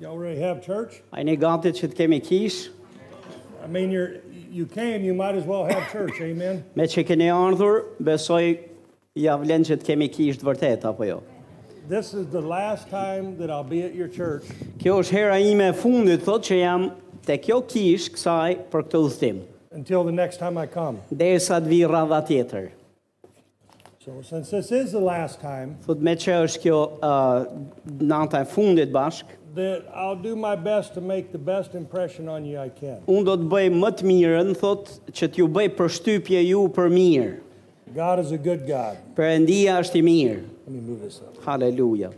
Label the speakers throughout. Speaker 1: You already have church?
Speaker 2: A jeni gati që të kemi kish?
Speaker 1: I mean, you're, you came, you might as well have church, amen?
Speaker 2: Me që keni ardhur, besoj ja vlen që të kemi kish të vërtet, apo jo?
Speaker 1: This is the last time that I'll be at your church,
Speaker 2: Kjo është hera ime e fundit, thot që jam te kjo kish kësaj për këtë udhëtim.
Speaker 1: until the next time I come.
Speaker 2: Derisa të vi radha tjetër.
Speaker 1: So since this is the last time,
Speaker 2: Thot me që është kjo uh, nata e fundit bashk,
Speaker 1: that I'll do my best to make the best impression on you I can.
Speaker 2: unë do të bëj më të mirën, thot që t'ju bëj përshtypje ju për mirë.
Speaker 1: God is a good God.
Speaker 2: Perëndia është i mirë.
Speaker 1: Let me move this up.
Speaker 2: Haleluja.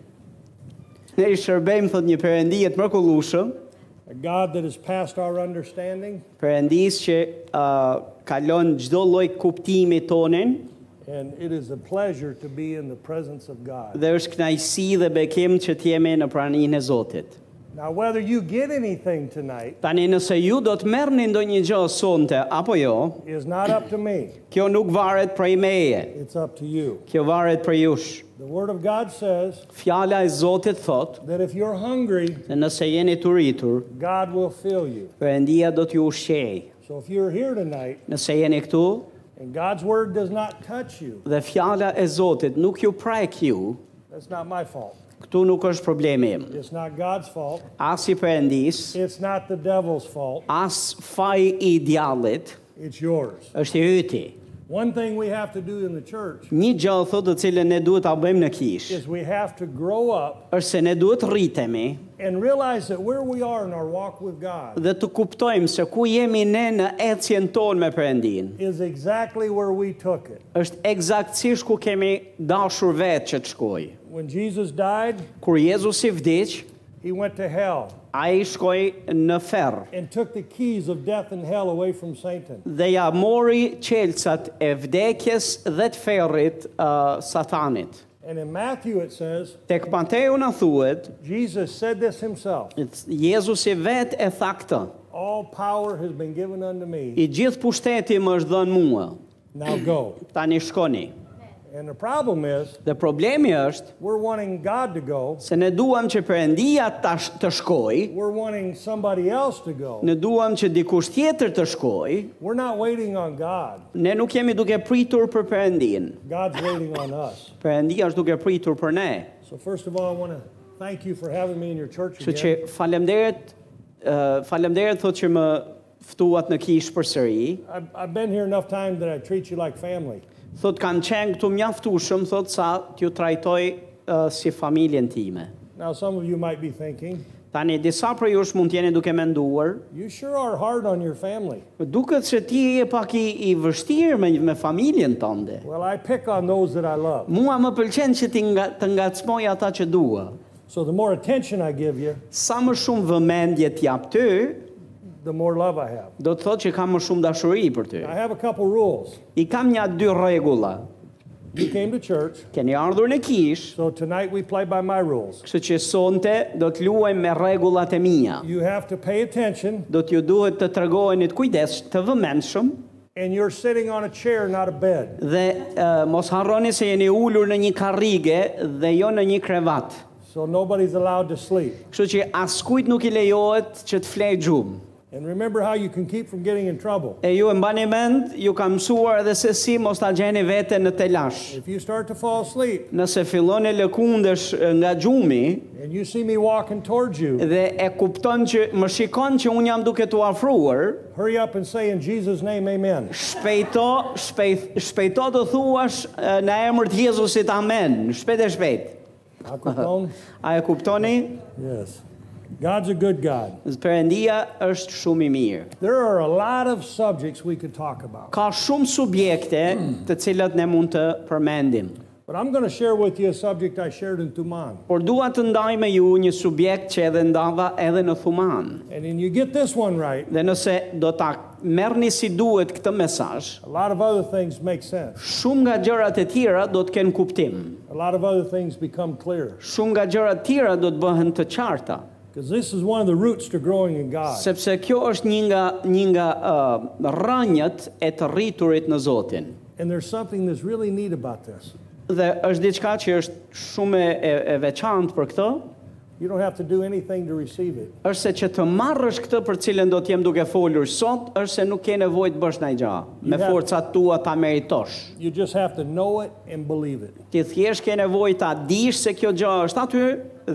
Speaker 2: Ne i shërbejmë thot një perëndi të mrekullueshëm,
Speaker 1: A God that is past our understanding
Speaker 2: perëndis që uh, kalon çdo lloj kuptimi tonin
Speaker 1: And it is a pleasure to be in the presence of God.
Speaker 2: dhe është kënaqësi dhe bekim që të jemi në praninë e Zotit.
Speaker 1: Now, whether you get anything tonight
Speaker 2: Tani nëse ju do të merrni ndonjë gjë sonte apo jo,
Speaker 1: is not up to me,
Speaker 2: kjo nuk varet prej meje.
Speaker 1: it's up to you.
Speaker 2: Kjo varet prej jush.
Speaker 1: The Word of God says
Speaker 2: Fjala e Zotit thot
Speaker 1: that if you're hungry,
Speaker 2: se nëse jeni të rritur,
Speaker 1: God will fill you.
Speaker 2: Perëndia do t'ju ushqej.
Speaker 1: So if you're here tonight
Speaker 2: Nëse jeni këtu
Speaker 1: and God's Word does not touch you,
Speaker 2: dhe fjala e Zotit nuk ju prajk ju,
Speaker 1: that's not my fault.
Speaker 2: Këtu nuk është problemi im.
Speaker 1: It's not God's fault.
Speaker 2: As i përëndis,
Speaker 1: It's not the devil's fault.
Speaker 2: as faj i djallit,
Speaker 1: It's yours.
Speaker 2: është i yti.
Speaker 1: One thing we have to do in the church
Speaker 2: Një gjallë thotë të cilën ne duhet ta bëjmë në kish,
Speaker 1: is we have to grow up
Speaker 2: është se ne duhet rritemi
Speaker 1: and realize that where we are in our walk with God
Speaker 2: dhe të kuptojmë se ku jemi ne në ecjen tonë me përëndin.
Speaker 1: is exactly where we took it.
Speaker 2: është eksaktësisht ku kemi dashur vetë që të shkoj.
Speaker 1: When Jesus died,
Speaker 2: Kur Jezus i vdiq,
Speaker 1: he went to hell
Speaker 2: a i shkoj në ferë
Speaker 1: and took the keys of death and hell away from Satan.
Speaker 2: dhe ja mori qelësat e vdekjes dhe të ferrit uh, satanit.
Speaker 1: And in Matthew, it says,
Speaker 2: Tek Mateu në thuet,
Speaker 1: Jesus said this himself
Speaker 2: Jezusi vetë e tha këtë,
Speaker 1: All power has been given unto me.
Speaker 2: i gjithë pushteti më është dhënë mua,
Speaker 1: Now go.
Speaker 2: tani shkoni.
Speaker 1: And the problem is,
Speaker 2: Dhe problemi është
Speaker 1: we're wanting God to go,
Speaker 2: se ne duam që përëndia tash të shkoj,
Speaker 1: we're wanting somebody else to go.
Speaker 2: ne duam që dikush tjetër të shkoj,
Speaker 1: We're not waiting on God,
Speaker 2: ne nuk jemi duke pritur për përëndin.
Speaker 1: God's waiting on us.
Speaker 2: Përëndia është duke pritur për ne.
Speaker 1: So, first of all, I want to thank you for having me in your church
Speaker 2: Kështu që
Speaker 1: again.
Speaker 2: falemderet, uh, falemderet thot që më ftuat në kish për sëri,
Speaker 1: I've, I've been here enough time that I treat you like family.
Speaker 2: thot kam qenë këtu mjaftushëm, thot sa t'ju trajtoj uh, si familjen time.
Speaker 1: Now, some of you might be thinking,
Speaker 2: Tani, disa për jush mund t'jeni duke menduar,
Speaker 1: you sure are hard on your family.
Speaker 2: duket se ti je pak i, i vështirë me, me familjen tënde.
Speaker 1: Well, I pick on those that I love.
Speaker 2: Mua më pëlqen që ti nga, të ngacmoj ata që dua.
Speaker 1: So the more attention I give you,
Speaker 2: Sa më shumë vëmendje t'jap ty,
Speaker 1: the more love I have.
Speaker 2: do të thotë që kam më shumë dashuri për ty.
Speaker 1: I have a couple rules.
Speaker 2: I kam një dy rregulla.
Speaker 1: You came to church,
Speaker 2: Keni ardhur në kish,
Speaker 1: so tonight we play by my rules.
Speaker 2: kështu që sonte do të luajmë me rregullat e mia.
Speaker 1: You have to pay attention,
Speaker 2: Do t'ju duhet të tregoheni të kujdes, të vëmendshëm
Speaker 1: and you're sitting on a chair, not a bed.
Speaker 2: dhe uh, mos harroni se jeni ulur në një karrige dhe jo në një krevat.
Speaker 1: So nobody's allowed to sleep.
Speaker 2: Kështu që askujt nuk i lejohet që të flej gjumë.
Speaker 1: And remember how you can keep from getting in trouble.
Speaker 2: E ju e mbani mend, ju ka mësuar edhe se si mos ta gjeni veten në telash.
Speaker 1: If you start to fall asleep
Speaker 2: Nëse fillon e lëkundesh e, nga gjumi
Speaker 1: and you see me walking towards you,
Speaker 2: dhe e kupton që më shikon që un jam duke t'u afruar,
Speaker 1: hurry up and say in Jesus' name, amen.
Speaker 2: shpejto, shpejt, shpejto të thuash e, në emër të Jezusit amen, shpejt e shpejt.
Speaker 1: Microphone?
Speaker 2: A e kuptoni?
Speaker 1: Yes. God's a good God.
Speaker 2: Perëndia është shumë i mirë.
Speaker 1: There are a lot of subjects we could talk about,
Speaker 2: Ka shumë subjekte të cilat ne mund të përmendim.
Speaker 1: but I'm going to share with you a subject I shared in Tuman.
Speaker 2: Por dua të ndaj me ju një subjekt që edhe ndava edhe në Thuman.
Speaker 1: And then you get this one right,
Speaker 2: Dhe nëse do ta merrni si duhet këtë mesazh,
Speaker 1: a lot of other things make sense.
Speaker 2: shumë nga gjërat e tjera do të kenë kuptim.
Speaker 1: A lot of other things become clear.
Speaker 2: Shumë nga gjërat tjera do të bëhen të qarta,
Speaker 1: Because this is one of the roots to growing in God.
Speaker 2: sepse kjo është një nga një nga uh, rrënjët e të rriturit në Zotin.
Speaker 1: And there's something that's really neat about this.
Speaker 2: Dhe është diçka që është shumë e, e veçantë për këtë,
Speaker 1: You don't have to do anything to receive it.
Speaker 2: është se që të marrësh këtë për cilën do të jem duke folur sot, është se nuk ke nevojë të bësh ndaj gjë. Me
Speaker 1: have-
Speaker 2: forcat tua ta meritosh.
Speaker 1: You just have to know it and believe it.
Speaker 2: Ti thjesht ke nevojë ta dish se kjo gjë është aty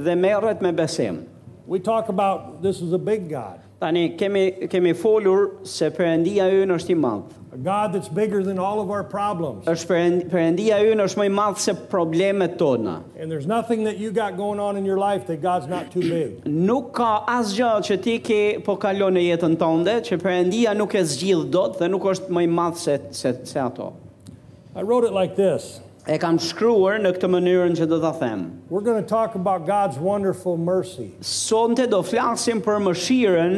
Speaker 2: dhe merret me besim.
Speaker 1: We talk about this is a big God,
Speaker 2: Tani kemi kemi folur se Perëndia ynë është i madh.
Speaker 1: a God that's bigger than all of our problems.
Speaker 2: Është Perënd- Perëndia ynë është më i madh se problemet tona.
Speaker 1: And there's nothing that you got going on in your life that God's not too big.
Speaker 2: Nuk ka asgjë që ti ke po kalon në jetën tënde që Perëndia nuk e zgjidh dot dhe nuk është më i madh se se, se ato.
Speaker 1: I wrote it like this.
Speaker 2: E kam shkruar në këtë mënyrën që do ta them.
Speaker 1: We're going to talk about God's wonderful mercy
Speaker 2: Sonte do flasim për mëshirën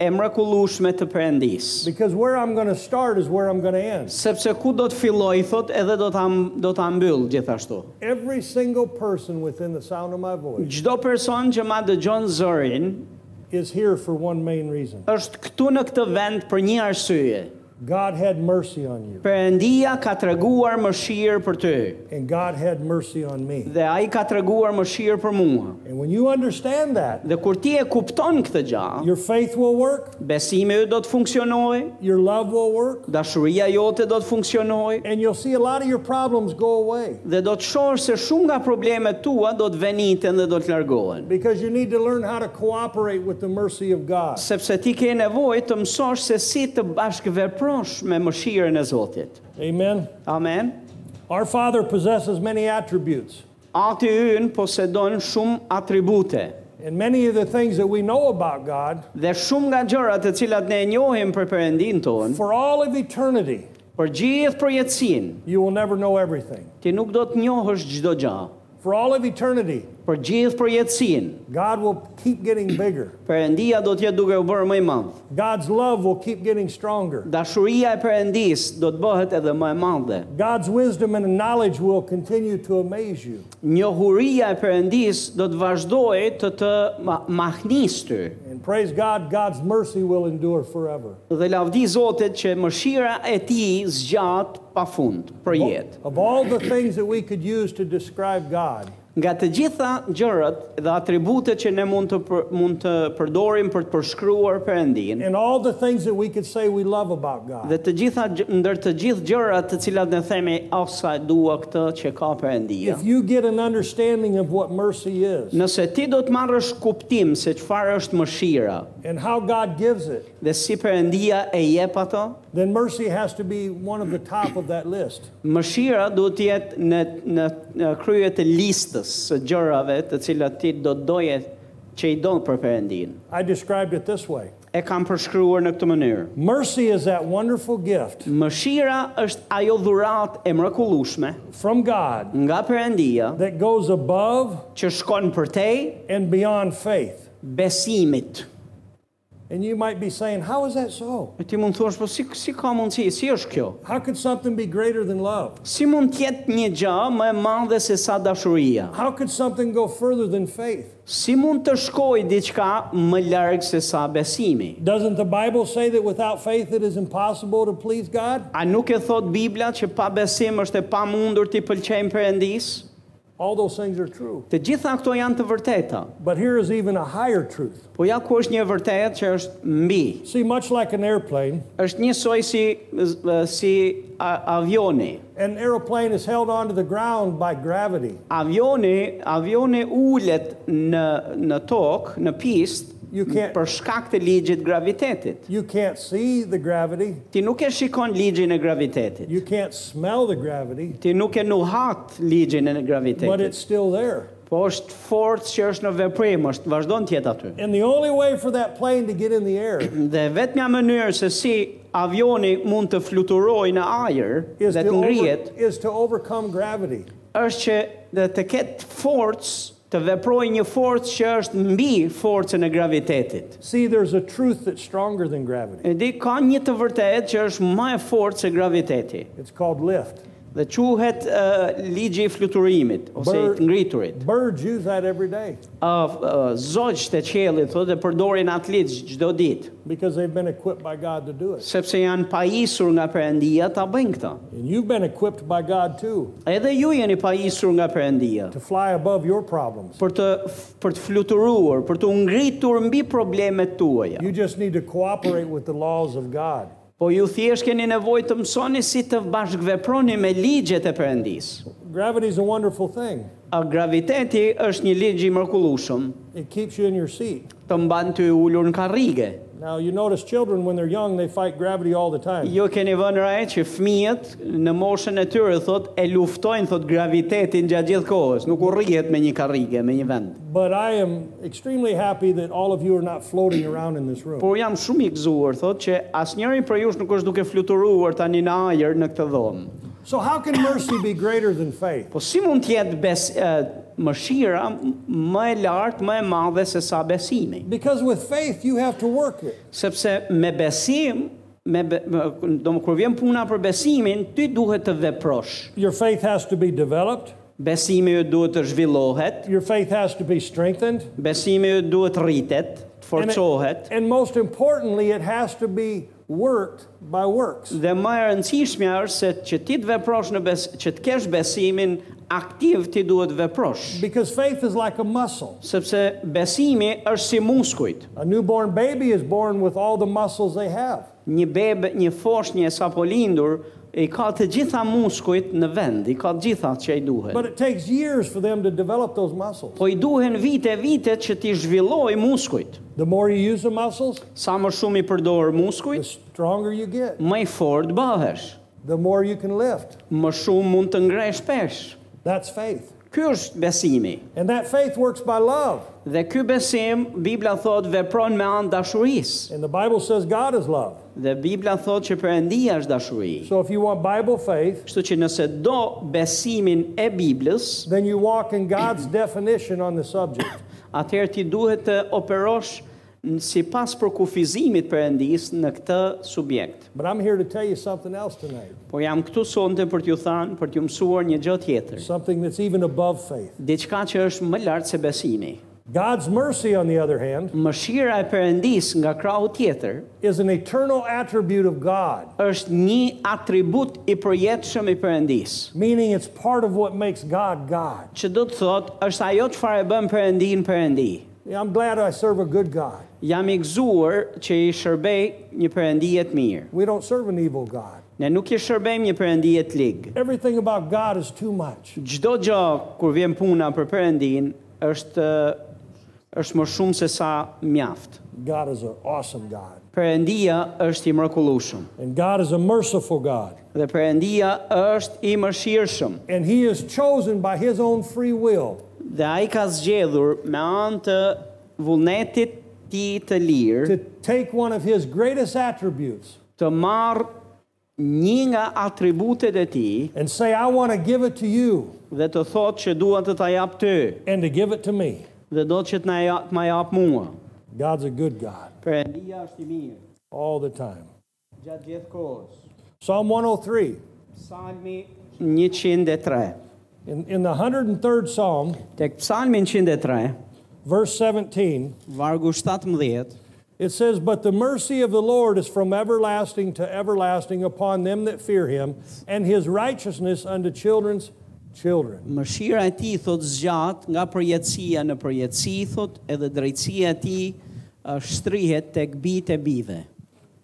Speaker 2: e mrekullueshme të Perëndisë.
Speaker 1: because where I'm going to start is where I'm going to end.
Speaker 2: Sepse ku do të filloj thot edhe do ta do ta mbyll gjithashtu.
Speaker 1: Every single person within the sound of my voice
Speaker 2: Çdo person që ma dëgjon zërin
Speaker 1: is here for one main reason
Speaker 2: është këtu në këtë vend për një arsye.
Speaker 1: God had mercy on you,
Speaker 2: Perëndia ka treguar mëshirë për ty
Speaker 1: and God had mercy on me.
Speaker 2: dhe ai ka treguar mëshirë për mua.
Speaker 1: And when you understand that,
Speaker 2: Dhe kur ti e kupton këtë gjë,
Speaker 1: your faith will work,
Speaker 2: besimi yt do të funksionojë,
Speaker 1: your love will work,
Speaker 2: dashuria jote do të funksionojë
Speaker 1: and you'll see a lot of your problems go away
Speaker 2: dhe do të shohësh se shumë nga problemet tua do të veniten dhe do të largohen.
Speaker 1: because you need to learn how to cooperate with the mercy of God.
Speaker 2: Sepse ti ke nevojë të mësosh se si të bashkëveprosh me mëshirën e Zotit.
Speaker 1: Amen.
Speaker 2: Amen.
Speaker 1: Our Father possesses many attributes,
Speaker 2: Ati ynë posedon shumë atribute
Speaker 1: and many of the things that we know about God
Speaker 2: dhe shumë nga gjërat të cilat ne e njohim për Perëndin ton,
Speaker 1: for all of eternity.
Speaker 2: për gjithë përjetësinë,
Speaker 1: You will never know everything.
Speaker 2: ti nuk do të njohësh çdo gjë.
Speaker 1: For all of eternity,
Speaker 2: Për gjithë përjetësinë,
Speaker 1: God will keep getting bigger.
Speaker 2: Perëndia do të jetë duke u bërë më i madh.
Speaker 1: God's love will keep getting stronger.
Speaker 2: Dashuria e Perëndis do të bëhet edhe më e madhe.
Speaker 1: God's wisdom and knowledge will continue to amaze you.
Speaker 2: Njohuria e Perëndis do të vazhdojë të të ma- mahnis ty.
Speaker 1: And praise God, God's mercy will endure forever.
Speaker 2: Dhe lavdi Zotit që mëshira e tij zgjat pafund për jetë.
Speaker 1: Of all the things that we could use to describe God,
Speaker 2: Nga të gjitha gjërat dhe atributet që ne mund të për, mund të përdorim për të përshkruar Perëndin
Speaker 1: and all the things that we could say we love about God,
Speaker 2: dhe të gjitha gjë- ndër të gjithë gjërat të cilat ne themi "Oh, sa e dua këtë që ka Perëndia.
Speaker 1: if you get an understanding of what mercy is
Speaker 2: Nëse ti do të marrësh kuptim se çfarë është mëshira
Speaker 1: and how God gives it,
Speaker 2: dhe si Perëndia e jep ato,
Speaker 1: then mercy has to be one of the top of that list.
Speaker 2: mëshira duhet të jetë në në, në krye të listës së gjërave të cilat ti do të doje që i don për Perëndin.
Speaker 1: I described it this way
Speaker 2: E kam përshkruar në këtë mënyrë.
Speaker 1: Mercy is that wonderful gift
Speaker 2: Mëshira është ajo dhuratë e mrekullueshme
Speaker 1: from God
Speaker 2: nga Perëndia
Speaker 1: that goes above
Speaker 2: që shkon për te
Speaker 1: and beyond faith.
Speaker 2: besimit.
Speaker 1: And you might be saying, How is that so?
Speaker 2: E ti mund thuash, po si si ka mundësi? Si është kjo?
Speaker 1: How could something be greater than love?
Speaker 2: Si mund të jetë një gjë më e madhe se sa dashuria?
Speaker 1: How could something go further than faith?
Speaker 2: Si mund të shkoj diçka më larg se sa besimi?
Speaker 1: Doesn't the Bible say that without faith it is impossible to please God?
Speaker 2: A nuk e thot Bibla që pa besim është e pamundur t'i pëlqejmë Perëndis?
Speaker 1: All those things are true.
Speaker 2: Të gjitha këto janë të vërteta.
Speaker 1: But here is even a higher truth.
Speaker 2: Po ja ku është një vërtetë që është mbi.
Speaker 1: See, much like an airplane,
Speaker 2: Është njësoj si si a- avioni.
Speaker 1: an airplane is held onto the ground by gravity.
Speaker 2: Avioni, avioni ulet në në tokë, në pistë
Speaker 1: You can't-
Speaker 2: për shkak të ligjit gravitetit.
Speaker 1: You can't see the gravity,
Speaker 2: Ti nuk e shikon ligjin e gravitetit.
Speaker 1: you can't smell the gravity,
Speaker 2: Ti nuk e nuhat ligjin e
Speaker 1: but
Speaker 2: gravitetit.
Speaker 1: it's still there.
Speaker 2: Po është forcë që është në veprim, është vazhdon të jetë aty.
Speaker 1: And the only way for that plane to get in the air
Speaker 2: Dhe vetë një mënyrë se si avioni mund të fluturoj në ajër
Speaker 1: is,
Speaker 2: dhe
Speaker 1: to,
Speaker 2: të
Speaker 1: over-
Speaker 2: ngrijet,
Speaker 1: is to overcome gravity.
Speaker 2: është që dhe të ketë forcë, të veproj një forcë që është mbi forcën e gravitetit.
Speaker 1: See, there's a truth that's stronger than gravity.
Speaker 2: E di ka një të vërtetë që është më e fortë se graviteti.
Speaker 1: It's called lift.
Speaker 2: Dhe quhet ë, ligji i fluturimit ose i
Speaker 1: Bird-
Speaker 2: të ngriturit.
Speaker 1: Birds use that every day
Speaker 2: Uh, Zogjtë e qellit thotë e përdorin atë ligj çdo ditë,
Speaker 1: because they've been equipped by God to do it.
Speaker 2: sepse janë pajisur nga Perëndia ta bëjnë këtë.
Speaker 1: And you've been equipped by God too
Speaker 2: Edhe ju jeni pajisur nga Perëndia
Speaker 1: to fly above your problems.
Speaker 2: për të për të fluturuar, për të ngritur mbi problemet tuaja.
Speaker 1: You just need to cooperate with the laws of God.
Speaker 2: Po ju thjesht keni nevojë të mësoni si të bashkëveproni me ligjet e Perëndisë.
Speaker 1: Gravity's a wonderful thing.
Speaker 2: A graviteti është një ligj i mrekullueshëm,
Speaker 1: It keeps you in your seat.
Speaker 2: të mban ty ulur në karrige.
Speaker 1: Now you notice children when they're young they fight gravity all the time.
Speaker 2: Ju Jo keni vënë re që fëmijët në moshën e tyre thot e luftojnë thot gravitetin gjatë gjithë kohës, nuk u rrihet me një karrige, me një vend.
Speaker 1: But I am extremely happy that all of you are not floating around in this room.
Speaker 2: Por jam shumë i gëzuar thot që asnjëri prej jush nuk është duke fluturuar tani në ajër në këtë dhomë.
Speaker 1: So how can mercy be greater than faith?
Speaker 2: Po si mund të jetë bes e, mëshira m- më e lartë, më e madhe se sa besimi?
Speaker 1: Because with faith you have to work it.
Speaker 2: Sepse me besim, me be, me- do më kur vjen puna për besimin, ty duhet të veprosh.
Speaker 1: Your faith has to be developed.
Speaker 2: Besimi ju duhet të zhvillohet,
Speaker 1: Your faith has to be strengthened.
Speaker 2: Besimi ju duhet rritet, të
Speaker 1: And it-
Speaker 2: forcohet
Speaker 1: and most importantly, it has to be worked by works.
Speaker 2: dhe më e rëndësishmja është se që ti të veprosh në bes, që të kesh besimin aktiv ti duhet veprosh,
Speaker 1: Because faith is like a muscle.
Speaker 2: sepse besimi është si muskujt.
Speaker 1: A newborn baby is born with all the muscles they have.
Speaker 2: Një bebë, një foshnjë sapo lindur i ka të gjitha muskujt në vend, i ka të gjitha që i duhet.
Speaker 1: But it takes years for them to develop those muscles.
Speaker 2: Po i duhen vite vite që ti zhvilloj muskujt.
Speaker 1: The more you use the muscles,
Speaker 2: Sa më shumë i përdor
Speaker 1: the
Speaker 2: muskujt,
Speaker 1: stronger you get,
Speaker 2: më i fort bëhesh,
Speaker 1: the more you can lift.
Speaker 2: më shumë mund të ngresh pesh.
Speaker 1: That's faith.
Speaker 2: Ky është besimi.
Speaker 1: And that faith works by love.
Speaker 2: Dhe ky besim, Bibla thot vepron me anë dashurisë.
Speaker 1: And the Bible says God is love.
Speaker 2: Dhe Bibla thot që Perëndia është dashuri.
Speaker 1: So if you want Bible faith,
Speaker 2: Kështu që nëse do besimin e Biblës,
Speaker 1: then you walk in God's definition on the subject.
Speaker 2: atëherë ti duhet të operosh n- sipas për kufizimit Perëndis në këtë subjekt.
Speaker 1: But I'm here to tell you something else tonight,
Speaker 2: Po jam këtu sonte për t'ju thënë, për t'ju mësuar një gjë tjetër.
Speaker 1: something that's even above faith.
Speaker 2: Diçka që është më lart se besimi.
Speaker 1: God's mercy, on the other hand,
Speaker 2: Mëshira e Perëndis nga krahu tjetër
Speaker 1: is an eternal attribute of God,
Speaker 2: është një atribut i përjetshëm i Perëndis.
Speaker 1: meaning it's part of what makes God God.
Speaker 2: që do të thot është ajo çfarë e bën Perëndin Perëndi.
Speaker 1: Yeah, I'm glad I serve a good God.
Speaker 2: Jam i gëzuar që i shërbej një Perëndi e të mirë.
Speaker 1: We don't serve an evil God.
Speaker 2: Ne nuk i shërbejmë një Perëndi e të ligë.
Speaker 1: Everything about God is too much.
Speaker 2: Çdo gjë kur vjen puna për Perëndin është është më shumë se sa mjaft.
Speaker 1: God is an awesome God,
Speaker 2: Perëndia është i mrekullueshëm
Speaker 1: and God is a merciful God,
Speaker 2: dhe Perëndia është i mëshirshëm
Speaker 1: and He is chosen by His own free will
Speaker 2: dhe ai ka zgjedhur me anë të vullnetit të tij të lirë
Speaker 1: to take one of His greatest attributes
Speaker 2: të marrë një nga atributet e tij
Speaker 1: and say, I want to give it to you
Speaker 2: dhe të thotë që dua të ta jap ty
Speaker 1: and to give it to me.
Speaker 2: dhe do që të na ja- të ma jap mua.
Speaker 1: God's a good God
Speaker 2: Perëndia është i mirë
Speaker 1: all the time.
Speaker 2: gjatë gjithë kohës.
Speaker 1: Psalm 103.
Speaker 2: Psalmi 103.
Speaker 1: In, in the 103rd Psalm,
Speaker 2: Tek Psalmi 103,
Speaker 1: verse 17,
Speaker 2: vargu 17,
Speaker 1: it says, But the mercy of the Lord is from everlasting to everlasting upon them that fear him, and his righteousness unto children's children.
Speaker 2: mëshira e tij thot zgjat nga përjetësia në përjetësi thot edhe drejtësia e tij uh, shtrihet tek bitë e bive.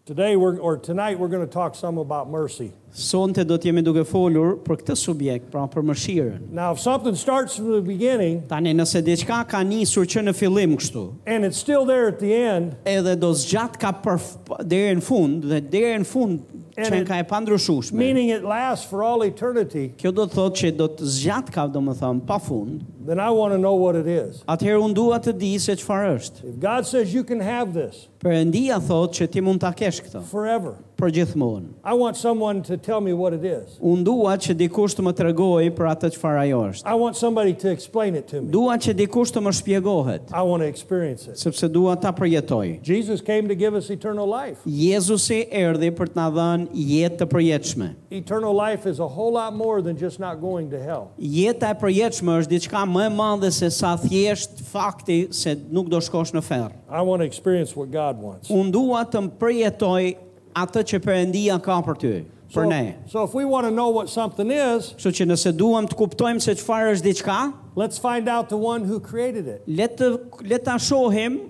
Speaker 1: Today, we're, or tonight, we're going to talk some about mercy.
Speaker 2: Sonte do të jemi duke folur për këtë subjekt, pra për mëshirën.
Speaker 1: Now, if something starts from the beginning
Speaker 2: Tani nëse diçka ka nisur që në fillim kështu,
Speaker 1: and it's still there at the end,
Speaker 2: edhe do zgjat ka për deri në fund dhe deri në fund
Speaker 1: And
Speaker 2: çen
Speaker 1: it-
Speaker 2: ka e pandryshueshme.
Speaker 1: meaning it lasts for all eternity,
Speaker 2: Kjo do të thotë që do të zgjat ka domethënë pa fund.
Speaker 1: then I want to know what it is.
Speaker 2: Atëherë unë dua të di se çfarë është.
Speaker 1: If God says you can have this
Speaker 2: Perëndia thotë që ti mund ta kesh këtë
Speaker 1: forever,
Speaker 2: për gjithmonë.
Speaker 1: I want someone to tell me what it is.
Speaker 2: Unë dua që dikush të më tregojë për atë çfarë ajo është.
Speaker 1: I want somebody to explain it to me.
Speaker 2: Dua që dikush të më shpjegohet,
Speaker 1: I want to experience it.
Speaker 2: sepse dua ta përjetoj.
Speaker 1: Jesus came to give us eternal life.
Speaker 2: Jezusi erdhi për të na dhënë jetë të përjetshme.
Speaker 1: Eternal life is a whole lot more than just not going to hell.
Speaker 2: Jeta e përjetshme është diçka më e madhe se sa thjesht fakti se nuk do shkosh në ferr.
Speaker 1: I want to experience what God wants.
Speaker 2: Unë dua të më përjetoj atë që Perëndia ka për ty, për ne.
Speaker 1: so if we want to know what something is,
Speaker 2: Kështu që nëse duam të kuptojmë se çfarë është diçka,
Speaker 1: let's find out the one who created it.
Speaker 2: le të le ta shohim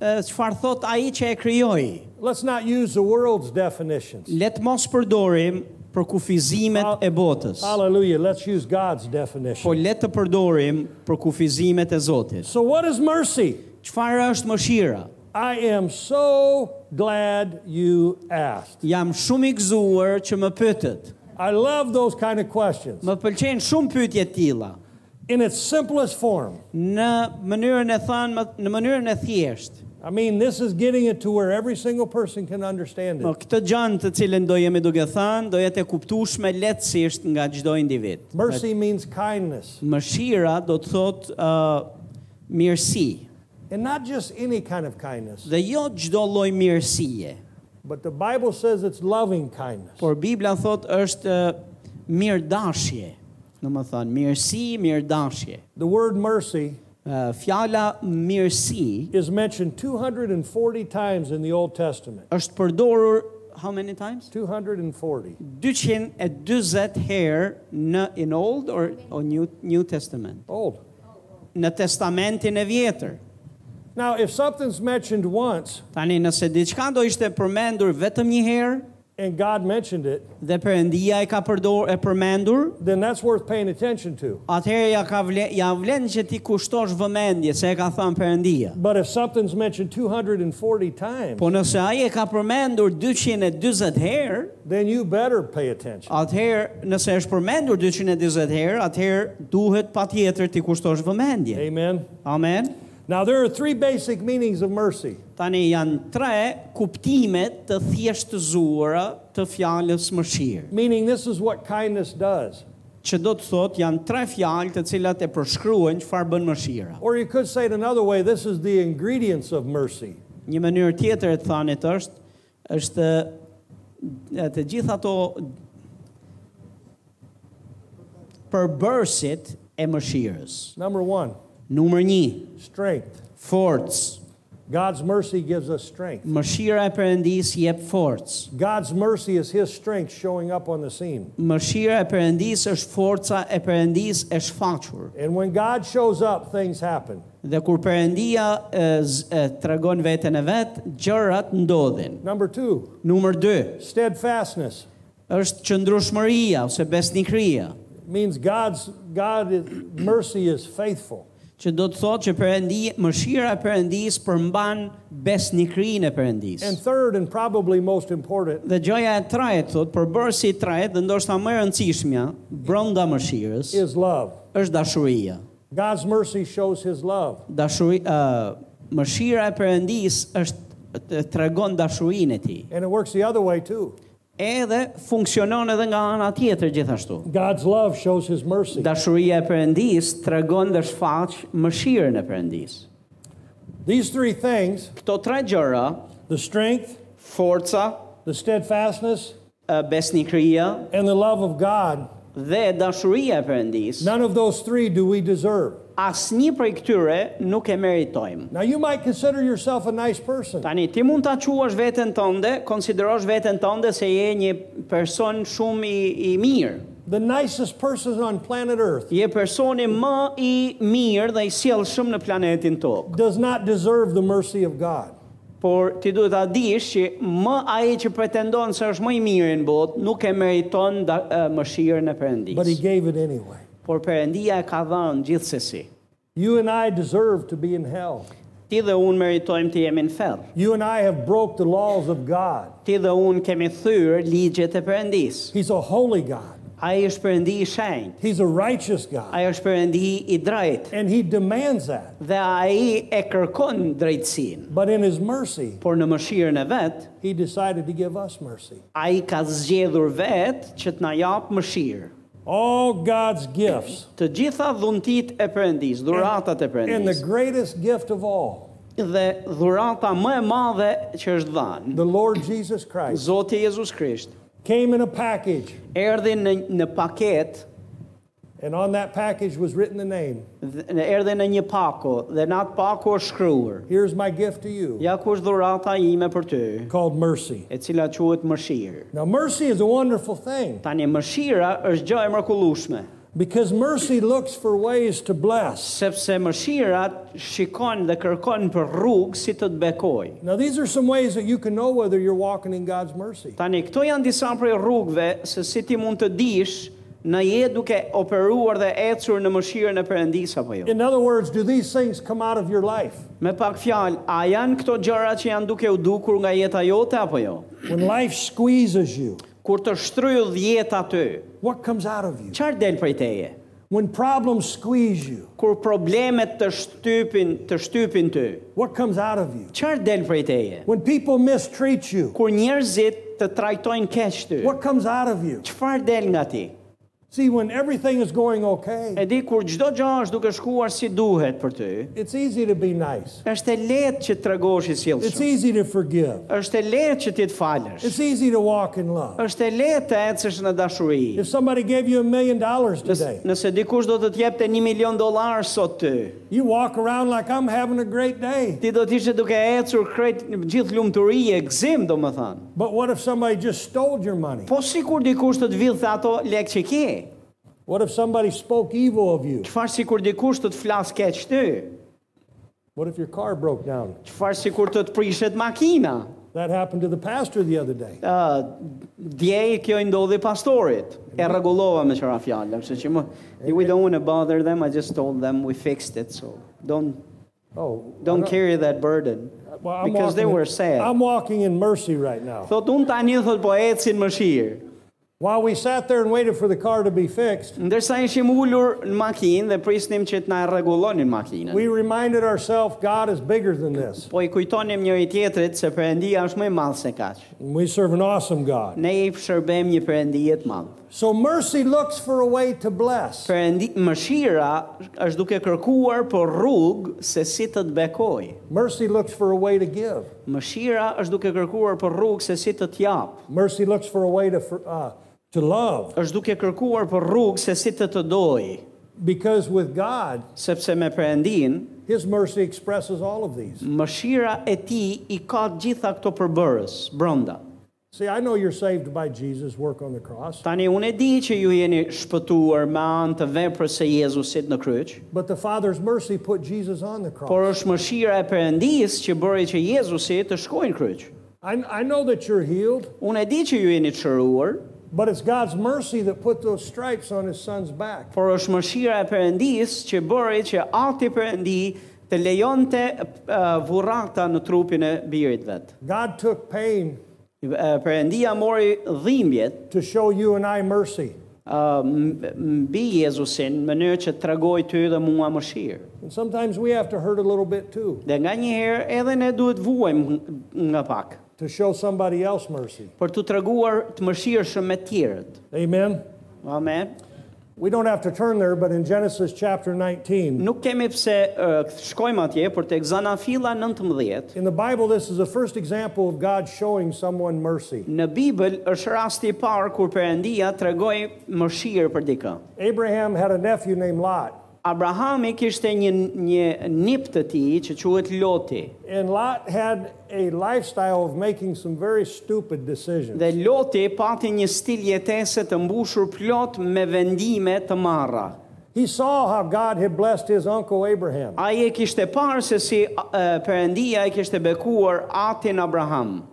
Speaker 2: e, çfarë thot ai që e krijoi.
Speaker 1: Let's not use the world's definitions.
Speaker 2: Le të mos përdorim për kufizimet e botës,
Speaker 1: Hallelujah. Let's use God's
Speaker 2: po
Speaker 1: definition.
Speaker 2: le të përdorim për kufizimet e Zotit.
Speaker 1: So, what is mercy?
Speaker 2: Çfarë është mëshira?
Speaker 1: I am so glad you asked.
Speaker 2: Jam shumë i gëzuar që më pyetët.
Speaker 1: I love those kind of questions
Speaker 2: Më pëlqejnë shumë pyetje të tilla.
Speaker 1: in its simplest form.
Speaker 2: në mënyrën e thënë më- në mënyrën e thjeshtë.
Speaker 1: I mean, this is getting it to where every single person can understand
Speaker 2: Po
Speaker 1: it.
Speaker 2: këtë gjanë të cilën do jemi duke thënë, do jetë e kuptueshme lehtësisht nga çdo individ.
Speaker 1: Mercy means kindness,
Speaker 2: Mëshira do të thotë ë mirësi,
Speaker 1: and not just any kind of kindness,
Speaker 2: dhe jo çdo lloj mirësie.
Speaker 1: but the Bible says it's loving kindness.
Speaker 2: Por Bibla thotë është ë, mirëdashje. Do të thonë mirësi, mirëdashje.
Speaker 1: The word mercy
Speaker 2: Ë fjala mirësi
Speaker 1: is mentioned 240 times in the Old Testament.
Speaker 2: është përdorur how many times?
Speaker 1: 240.
Speaker 2: 240 herë në in Old or, or New New Testament.
Speaker 1: Old.
Speaker 2: në testamentin e vjetër.
Speaker 1: Now, if something's mentioned once
Speaker 2: Tani nëse diçka do ishte përmendur vetëm një herë
Speaker 1: and God mentioned it,
Speaker 2: dhe Perëndia e ka përdor e përmendur,
Speaker 1: then that's worth paying attention to.
Speaker 2: atëherë ja ka vle, ja vlen që ti kushtosh vëmendje se e ka thënë Perëndia.
Speaker 1: But if something's mentioned 240 times,
Speaker 2: Po nëse ai e ka përmendur 240 herë,
Speaker 1: then you better pay attention.
Speaker 2: atëherë nëse është përmendur 240 herë, atëherë duhet patjetër ti kushtosh vëmendje.
Speaker 1: Amen.
Speaker 2: Amen.
Speaker 1: Now, there are three basic meanings of mercy.
Speaker 2: Tani janë tre kuptime të thjeshtëzuara të fjalës mëshirë.
Speaker 1: Meaning, this is what kindness does.
Speaker 2: që do të thotë janë tre fjalë të cilat e përshkruajnë çfarë bën mëshira.
Speaker 1: Or you could say it another way this is the ingredients of mercy.
Speaker 2: Një mënyrë tjetër e të thanit është është e, të gjitha ato përbërësit e mëshirës.
Speaker 1: Number one,
Speaker 2: Numër 1,
Speaker 1: strength.
Speaker 2: forcë.
Speaker 1: God's mercy gives us strength.
Speaker 2: Mëshira e Perëndis jep forcë.
Speaker 1: God's mercy is His strength showing up on the scene.
Speaker 2: Mëshira e Perëndis është forca e Perëndis e shfaqur.
Speaker 1: And when God shows up, things happen.
Speaker 2: Dhe kur Perëndia e, z- e tregon veten e vet, gjërat ndodhin.
Speaker 1: Number two,
Speaker 2: Numër 2,
Speaker 1: steadfastness
Speaker 2: është qëndrueshmëria ose besnikëria,
Speaker 1: It means God's God is, mercy is faithful.
Speaker 2: që do të thotë që Perëndi, mëshira e Perëndis përmban besnikërinë e Perëndis.
Speaker 1: And third, and probably most important,
Speaker 2: Dhe gjëja e tretë thotë, përbërësi i tretë dhe ndoshta më e rëndësishmja brenda mëshirës
Speaker 1: is love.
Speaker 2: është dashuria.
Speaker 1: God's mercy shows His love.
Speaker 2: Dashuri ë mëshira e Perëndis është të tregon dashurinë e tij.
Speaker 1: And it works the other way too.
Speaker 2: Edhe funksionon edhe nga ana tjetër gjithashtu.
Speaker 1: God's love shows His mercy.
Speaker 2: Dashuria e Perëndis tregon dhe shfaq mëshirën e Perëndis.
Speaker 1: These three things
Speaker 2: Këto tre gjëra
Speaker 1: the strength,
Speaker 2: forca,
Speaker 1: the steadfastness,
Speaker 2: e, besnikëria
Speaker 1: and the love of God
Speaker 2: dhe dashuria e Perëndis,
Speaker 1: none of those three do we deserve.
Speaker 2: asnjë prej këtyre nuk e meritojmë.
Speaker 1: Now, you might consider yourself a nice person.
Speaker 2: Tani ti mund ta quash veten tënde, konsiderosh veten tënde se je një person shumë i, i mirë.
Speaker 1: The nicest person on planet Earth
Speaker 2: Je personi më i mirë dhe i sjellshëm në planetin tokë.
Speaker 1: does not deserve the mercy of God.
Speaker 2: Por ti duhet ta dish që më ai që pretendon se është më i miri në botë nuk e meriton da, e, mëshirën e
Speaker 1: But He
Speaker 2: Perëndis.
Speaker 1: gave it anyway.
Speaker 2: Por Perëndia e ka dhënë gjithsesi.
Speaker 1: You and I deserve to be in hell.
Speaker 2: Ti dhe unë meritojmë të jemi në ferr.
Speaker 1: You and I have broke the laws of God.
Speaker 2: Ti dhe unë kemi thyrë ligjet e përëndis.
Speaker 1: He's a holy God.
Speaker 2: Ai është Perëndi i shenjtë.
Speaker 1: He's a righteous God.
Speaker 2: Ai është Perëndi i drejtë
Speaker 1: And he demands that.
Speaker 2: dhe ai e kërkon drejtësinë.
Speaker 1: But in his mercy,
Speaker 2: Por në mëshirën e vet,
Speaker 1: he decided to give us mercy.
Speaker 2: ai ka zgjedhur vet që të na jap mëshirë.
Speaker 1: All God's gifts.
Speaker 2: Të gjitha dhuntit e Perëndis, dhuratat e
Speaker 1: And the
Speaker 2: Perëndis.
Speaker 1: greatest gift of all,
Speaker 2: Dhe dhurata më e madhe që është dhanë,
Speaker 1: the Lord Jesus Christ,
Speaker 2: Zoti Jezus Krisht,
Speaker 1: came in a package.
Speaker 2: erdhi në në paketë
Speaker 1: And on that package was written the name.
Speaker 2: Dhe- në erdhe në një pako dhe në atë pako është shkruar.
Speaker 1: Here's my gift to you
Speaker 2: Ja ku është dhurata ime për ty,
Speaker 1: called mercy.
Speaker 2: e cila quhet mëshirë.
Speaker 1: Now, mercy is a wonderful thing
Speaker 2: Tani mëshira është gjë e mrekullueshme,
Speaker 1: because mercy looks for ways to bless.
Speaker 2: sepse mëshira shikon dhe kërkon për rrugë si të të bekoj.
Speaker 1: Now, these are some ways that you can know whether you're walking in God's mercy.
Speaker 2: Tani këto janë disa prej rrugëve se si ti mund të dish në je duke operuar dhe ecur në mëshirën e Perëndis apo jo.
Speaker 1: In other words, do these things come out of your life?
Speaker 2: Me pak fjalë, a janë këto gjëra që janë duke u dukur nga jeta jote apo jo?
Speaker 1: When life squeezes you,
Speaker 2: Kur të shtrydh jeta ty,
Speaker 1: what comes out of you?
Speaker 2: çfarë del prej teje?
Speaker 1: When problems squeeze you,
Speaker 2: kur problemet të shtypin, të shtypin ty,
Speaker 1: what comes out of you?
Speaker 2: çfarë del prej teje?
Speaker 1: When people mistreat you,
Speaker 2: Kur njerëzit të trajtojnë keq ty,
Speaker 1: what comes out of you?
Speaker 2: çfarë del nga ti?
Speaker 1: See, when everything is going okay,
Speaker 2: E di kur çdo gjë është duke shkuar si duhet për ty,
Speaker 1: it's easy to be nice.
Speaker 2: është e lehtë që të tregosh i
Speaker 1: It's
Speaker 2: sjellshëm.
Speaker 1: easy to forgive.
Speaker 2: Është e lehtë që ti të falësh.
Speaker 1: It's easy to walk in love.
Speaker 2: Është e lehtë të ecësh në dashuri.
Speaker 1: If somebody gave you a million dollars today,
Speaker 2: Nëse dikush do të të jepte 1 milion dollar sot ty,
Speaker 1: you walk around like I'm having a great day.
Speaker 2: ti do të ishe duke ecur krejt në gjithë lumturi e gzim, domethënë.
Speaker 1: But what if somebody just stole your money?
Speaker 2: Po sikur dikush të të vidhte ato lekë që ke.
Speaker 1: What if somebody spoke evil of you?
Speaker 2: Qëfar si kur dikush të të flasë keq ty?
Speaker 1: What if your car broke down?
Speaker 2: Qëfar si kur të të prishet makina?
Speaker 1: That happened to the pastor the other day.
Speaker 2: Uh, dje kjo i ndodhi pastorit. E rregullova me çfarë fjalë, kështu që më we don't want to bother them, I just told them we fixed it, so don't
Speaker 1: Oh, I
Speaker 2: don't carry that burden
Speaker 1: well, I'm
Speaker 2: because they
Speaker 1: walking in-
Speaker 2: were sad.
Speaker 1: I'm walking in mercy right now.
Speaker 2: Thot unë tani thot po ecin më shirë.
Speaker 1: While we sat there and waited for the car to be fixed,
Speaker 2: Ndërsa ishim ullur në makinë dhe prisnim që të na rregullonin makinën.
Speaker 1: we reminded ourselves God is bigger than this.
Speaker 2: Po i kujtonim njëri tjetrit se Perëndia është më i madh se kaq.
Speaker 1: And we serve an awesome God.
Speaker 2: Ne i shërbejmë një Perëndi të madh.
Speaker 1: So mercy looks for a way to bless.
Speaker 2: Perëndi mëshira është duke kërkuar për rrugë se si të të bekoj.
Speaker 1: Mercy looks for a way to give.
Speaker 2: Mëshira është duke kërkuar për rrugë se si të të jap.
Speaker 1: Mercy looks for a way to for, uh, to love.
Speaker 2: Është duke kërkuar për rrugë se si të të doj,
Speaker 1: Because with God,
Speaker 2: sepse me Perëndin
Speaker 1: His mercy expresses all of these.
Speaker 2: mëshira e tij i ka të gjitha këto përbërës brenda.
Speaker 1: See, I know you're saved by Jesus' work on the cross,
Speaker 2: Tani unë e di që ju jeni shpëtuar me anë të veprës së Jezusit në kryq,
Speaker 1: but the Father's mercy put Jesus on the
Speaker 2: por
Speaker 1: cross.
Speaker 2: është mëshira e Perëndis që bëri që Jezusi të shkojë në kryq.
Speaker 1: I, I know that you're healed,
Speaker 2: Unë e di që ju jeni të shëruar,
Speaker 1: but it's God's mercy that put those stripes on His Son's back.
Speaker 2: por është mëshira e Perëndis që bëri që ati Perëndi të lejonte uh, vurrata në trupin e birit vet.
Speaker 1: God took pain
Speaker 2: Uh, Perëndia mori dhimbjet
Speaker 1: to show you and I mercy.
Speaker 2: uh, m- mbi Jezusin në mënyrë që tregoi ty dhe mua mëshirë.
Speaker 1: And sometimes we have to hurt a little bit too
Speaker 2: Dhe nga njëherë edhe ne duhet vuajmë nga pak
Speaker 1: to show somebody else mercy.
Speaker 2: për të treguar të mëshirshëm me të tjerët.
Speaker 1: Amen.
Speaker 2: Amen.
Speaker 1: We don't have to turn there, but in Genesis chapter 19,
Speaker 2: Nuk kemi pse uh, shkojmë atje për tek Zanafilla 19.
Speaker 1: in the Bible, this is the first example of God showing someone mercy.
Speaker 2: Në Bibël është rasti i parë kur Perëndia tregoi mëshirë për dikë.
Speaker 1: Abraham had a nephew named Lot,
Speaker 2: Abrahami kishte një një nip të tij që quhet Loti.
Speaker 1: and Lot had a lifestyle of making some very stupid decisions.
Speaker 2: Dhe Loti pati një stil jetese të mbushur plot me vendime të marra.
Speaker 1: He saw how God had blessed his uncle Abraham,
Speaker 2: Ai e kishte parë se si uh, Perëndia e kishte bekuar atin Abraham.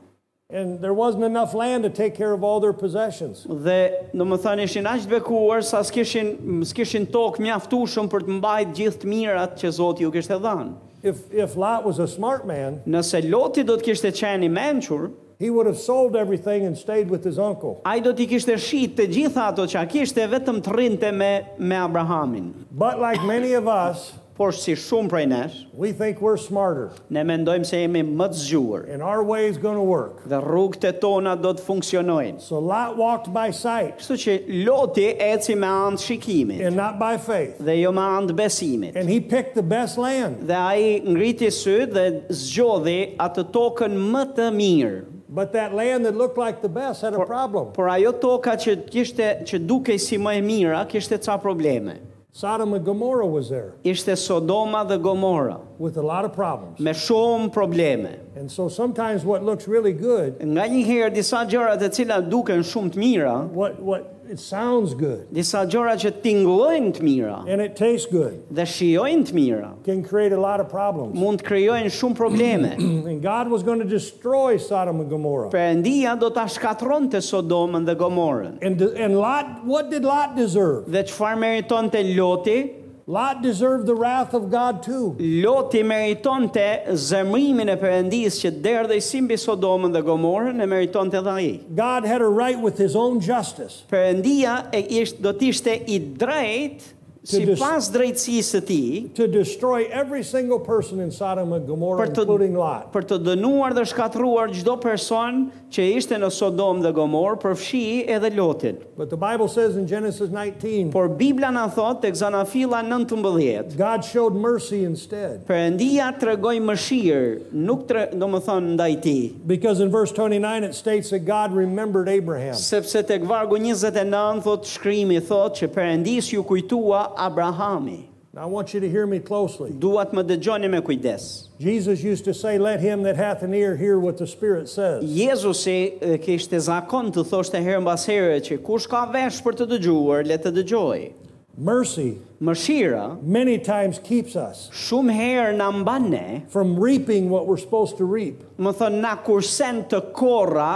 Speaker 1: and there wasn't enough land to take care of all their possessions.
Speaker 2: Dhe në më thënë ishin aq të bekuar sa s'kishin, s'kishin tokë mjaftushëm për të mbajt gjithë të mirat që Zoti ju kishte dhanë.
Speaker 1: If, if Lot was a smart man,
Speaker 2: Nëse Loti do të kishte qenë i mençur,
Speaker 1: he would have sold everything and stayed with his uncle.
Speaker 2: Ai do t'i kishte shit të gjitha ato që a kishte vetëm të rrinte me me Abrahamin.
Speaker 1: But like many of us,
Speaker 2: Por si shumë prej nesh,
Speaker 1: we think we're smarter
Speaker 2: ne mendojmë se jemi më të zgjuar
Speaker 1: and our way is going to work.
Speaker 2: dhe rrugët e tona do të funksionojnë.
Speaker 1: So Lot walked by sight
Speaker 2: Kështu që Loti eci me anë shikimit
Speaker 1: and not by faith.
Speaker 2: dhe jo me anë besimit.
Speaker 1: And he picked the best land,
Speaker 2: Dhe ai ngriti sy dhe zgjodhi atë tokën më të mirë.
Speaker 1: but that land that looked like the best had a problem.
Speaker 2: Por ajo toka që kishte që dukej si më e mira, kishte ca probleme.
Speaker 1: Sodom and Gomorrah was there
Speaker 2: Ishte Sodoma dhe Gomora
Speaker 1: with a lot of problems.
Speaker 2: me shumë probleme.
Speaker 1: And so sometimes what looks really good,
Speaker 2: Nga një herë disa gjëra të cilat duken shumë të mira,
Speaker 1: what what it sounds good
Speaker 2: disa gjëra që tingëllojnë të mira
Speaker 1: and it tastes good
Speaker 2: dhe shijojnë të mira,
Speaker 1: can create a lot of problems.
Speaker 2: mund të krijojnë shumë probleme.
Speaker 1: And God was going to destroy Sodom and Gomorrah.
Speaker 2: Perëndia do ta shkatronte Sodomën dhe Gomorën.
Speaker 1: And and Lot, what did Lot deserve?
Speaker 2: Dhe çfarë meritonte Loti?
Speaker 1: Lot deserved the wrath of God too.
Speaker 2: Loti meritonte zemrimin e Perëndisë që derdhej si mbi Sodomën dhe Gomorën, e meritonte edhe ai.
Speaker 1: God had a right with his own justice
Speaker 2: Perëndia e ishtë, do të ishte i drejtë sipas drejtësisë së tij
Speaker 1: to destroy every single person in Sodom and Gomorrah,
Speaker 2: për të
Speaker 1: including Lot.
Speaker 2: për të dënuar dhe shkatruar çdo person që ishte në Sodom dhe Gomor, përfshi edhe Lotin.
Speaker 1: But the Bible says in Genesis 19,
Speaker 2: Por Bibla na thot tek Zanafilla 19,
Speaker 1: God showed mercy instead.
Speaker 2: Perëndia tregoi mëshirë, nuk tre, domethënë ndaj ti,
Speaker 1: Because in verse 29 it states that God remembered Abraham.
Speaker 2: sepse tek vargu 29 thot shkrimi thot që Perëndis ju kujtua Abrahami.
Speaker 1: Now I want you to hear me closely.
Speaker 2: Duat më dëgjoni me kujdes.
Speaker 1: Jesus used to say, Let him that hath an ear hear what the Spirit says.
Speaker 2: Jezusi e, kishte zakon të thoshte herë mbas here që kush ka vesh për të dëgjuar, le të dëgjojë.
Speaker 1: Mercy
Speaker 2: Mëshira
Speaker 1: many times keeps us
Speaker 2: shumë herë na mban ne,
Speaker 1: from reaping what we're supposed to reap.
Speaker 2: më thon na kursen të korra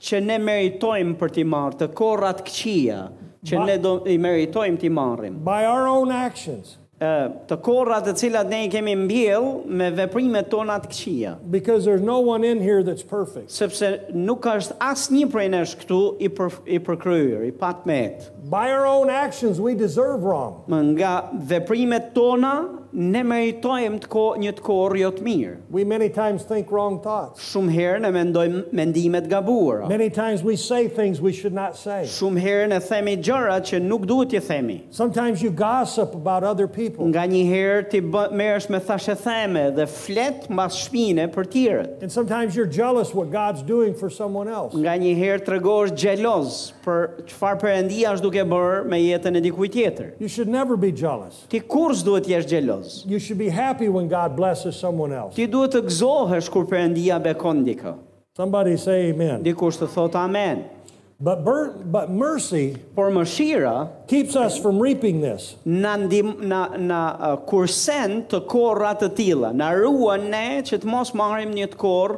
Speaker 2: që ne meritojmë për t'i marrë, të korra të këqija që
Speaker 1: Ba-
Speaker 2: ne do i meritojmë t'i marrim.
Speaker 1: By our own actions.
Speaker 2: Ë, të korra të cilat ne i kemi mbjell me veprimet tona të këqija,
Speaker 1: Because there's no one in here that's perfect.
Speaker 2: sepse nuk është asnjë prej nesh këtu i për, i përkryer, i patmet.
Speaker 1: By our own actions, we deserve wrong.
Speaker 2: Më nga veprimet tona ne meritojmë të ko, një të korrë jo të mirë.
Speaker 1: We many times think wrong thoughts.
Speaker 2: Shumë herë ne mendojmë mendime të gabuara.
Speaker 1: Many times we say things we should not say.
Speaker 2: Shumë herë ne themi gjëra që nuk duhet t'i themi.
Speaker 1: Sometimes you gossip about other people.
Speaker 2: Nga një herë ti bë- merresh me thashe theme dhe flet mbas shpine për tjerët.
Speaker 1: And sometimes you're jealous what God's doing for someone else.
Speaker 2: Nga një herë tregosh xheloz për çfarë Perëndia është duke bërë me jetën e dikujt tjetër.
Speaker 1: You should never be jealous.
Speaker 2: Ti kur s'duhet të jesh xheloz?
Speaker 1: You should be happy when God blesses someone else.
Speaker 2: Ti duhet të gëzohesh kur Perëndia bekon dikë.
Speaker 1: Somebody say amen.
Speaker 2: Dikush të thot amen.
Speaker 1: But, ber- but mercy
Speaker 2: Por mëshira
Speaker 1: keeps us from reaping this.
Speaker 2: na ndim na na uh, kursen të korra të tilla. Na ruan ne që të mos marrim një të korr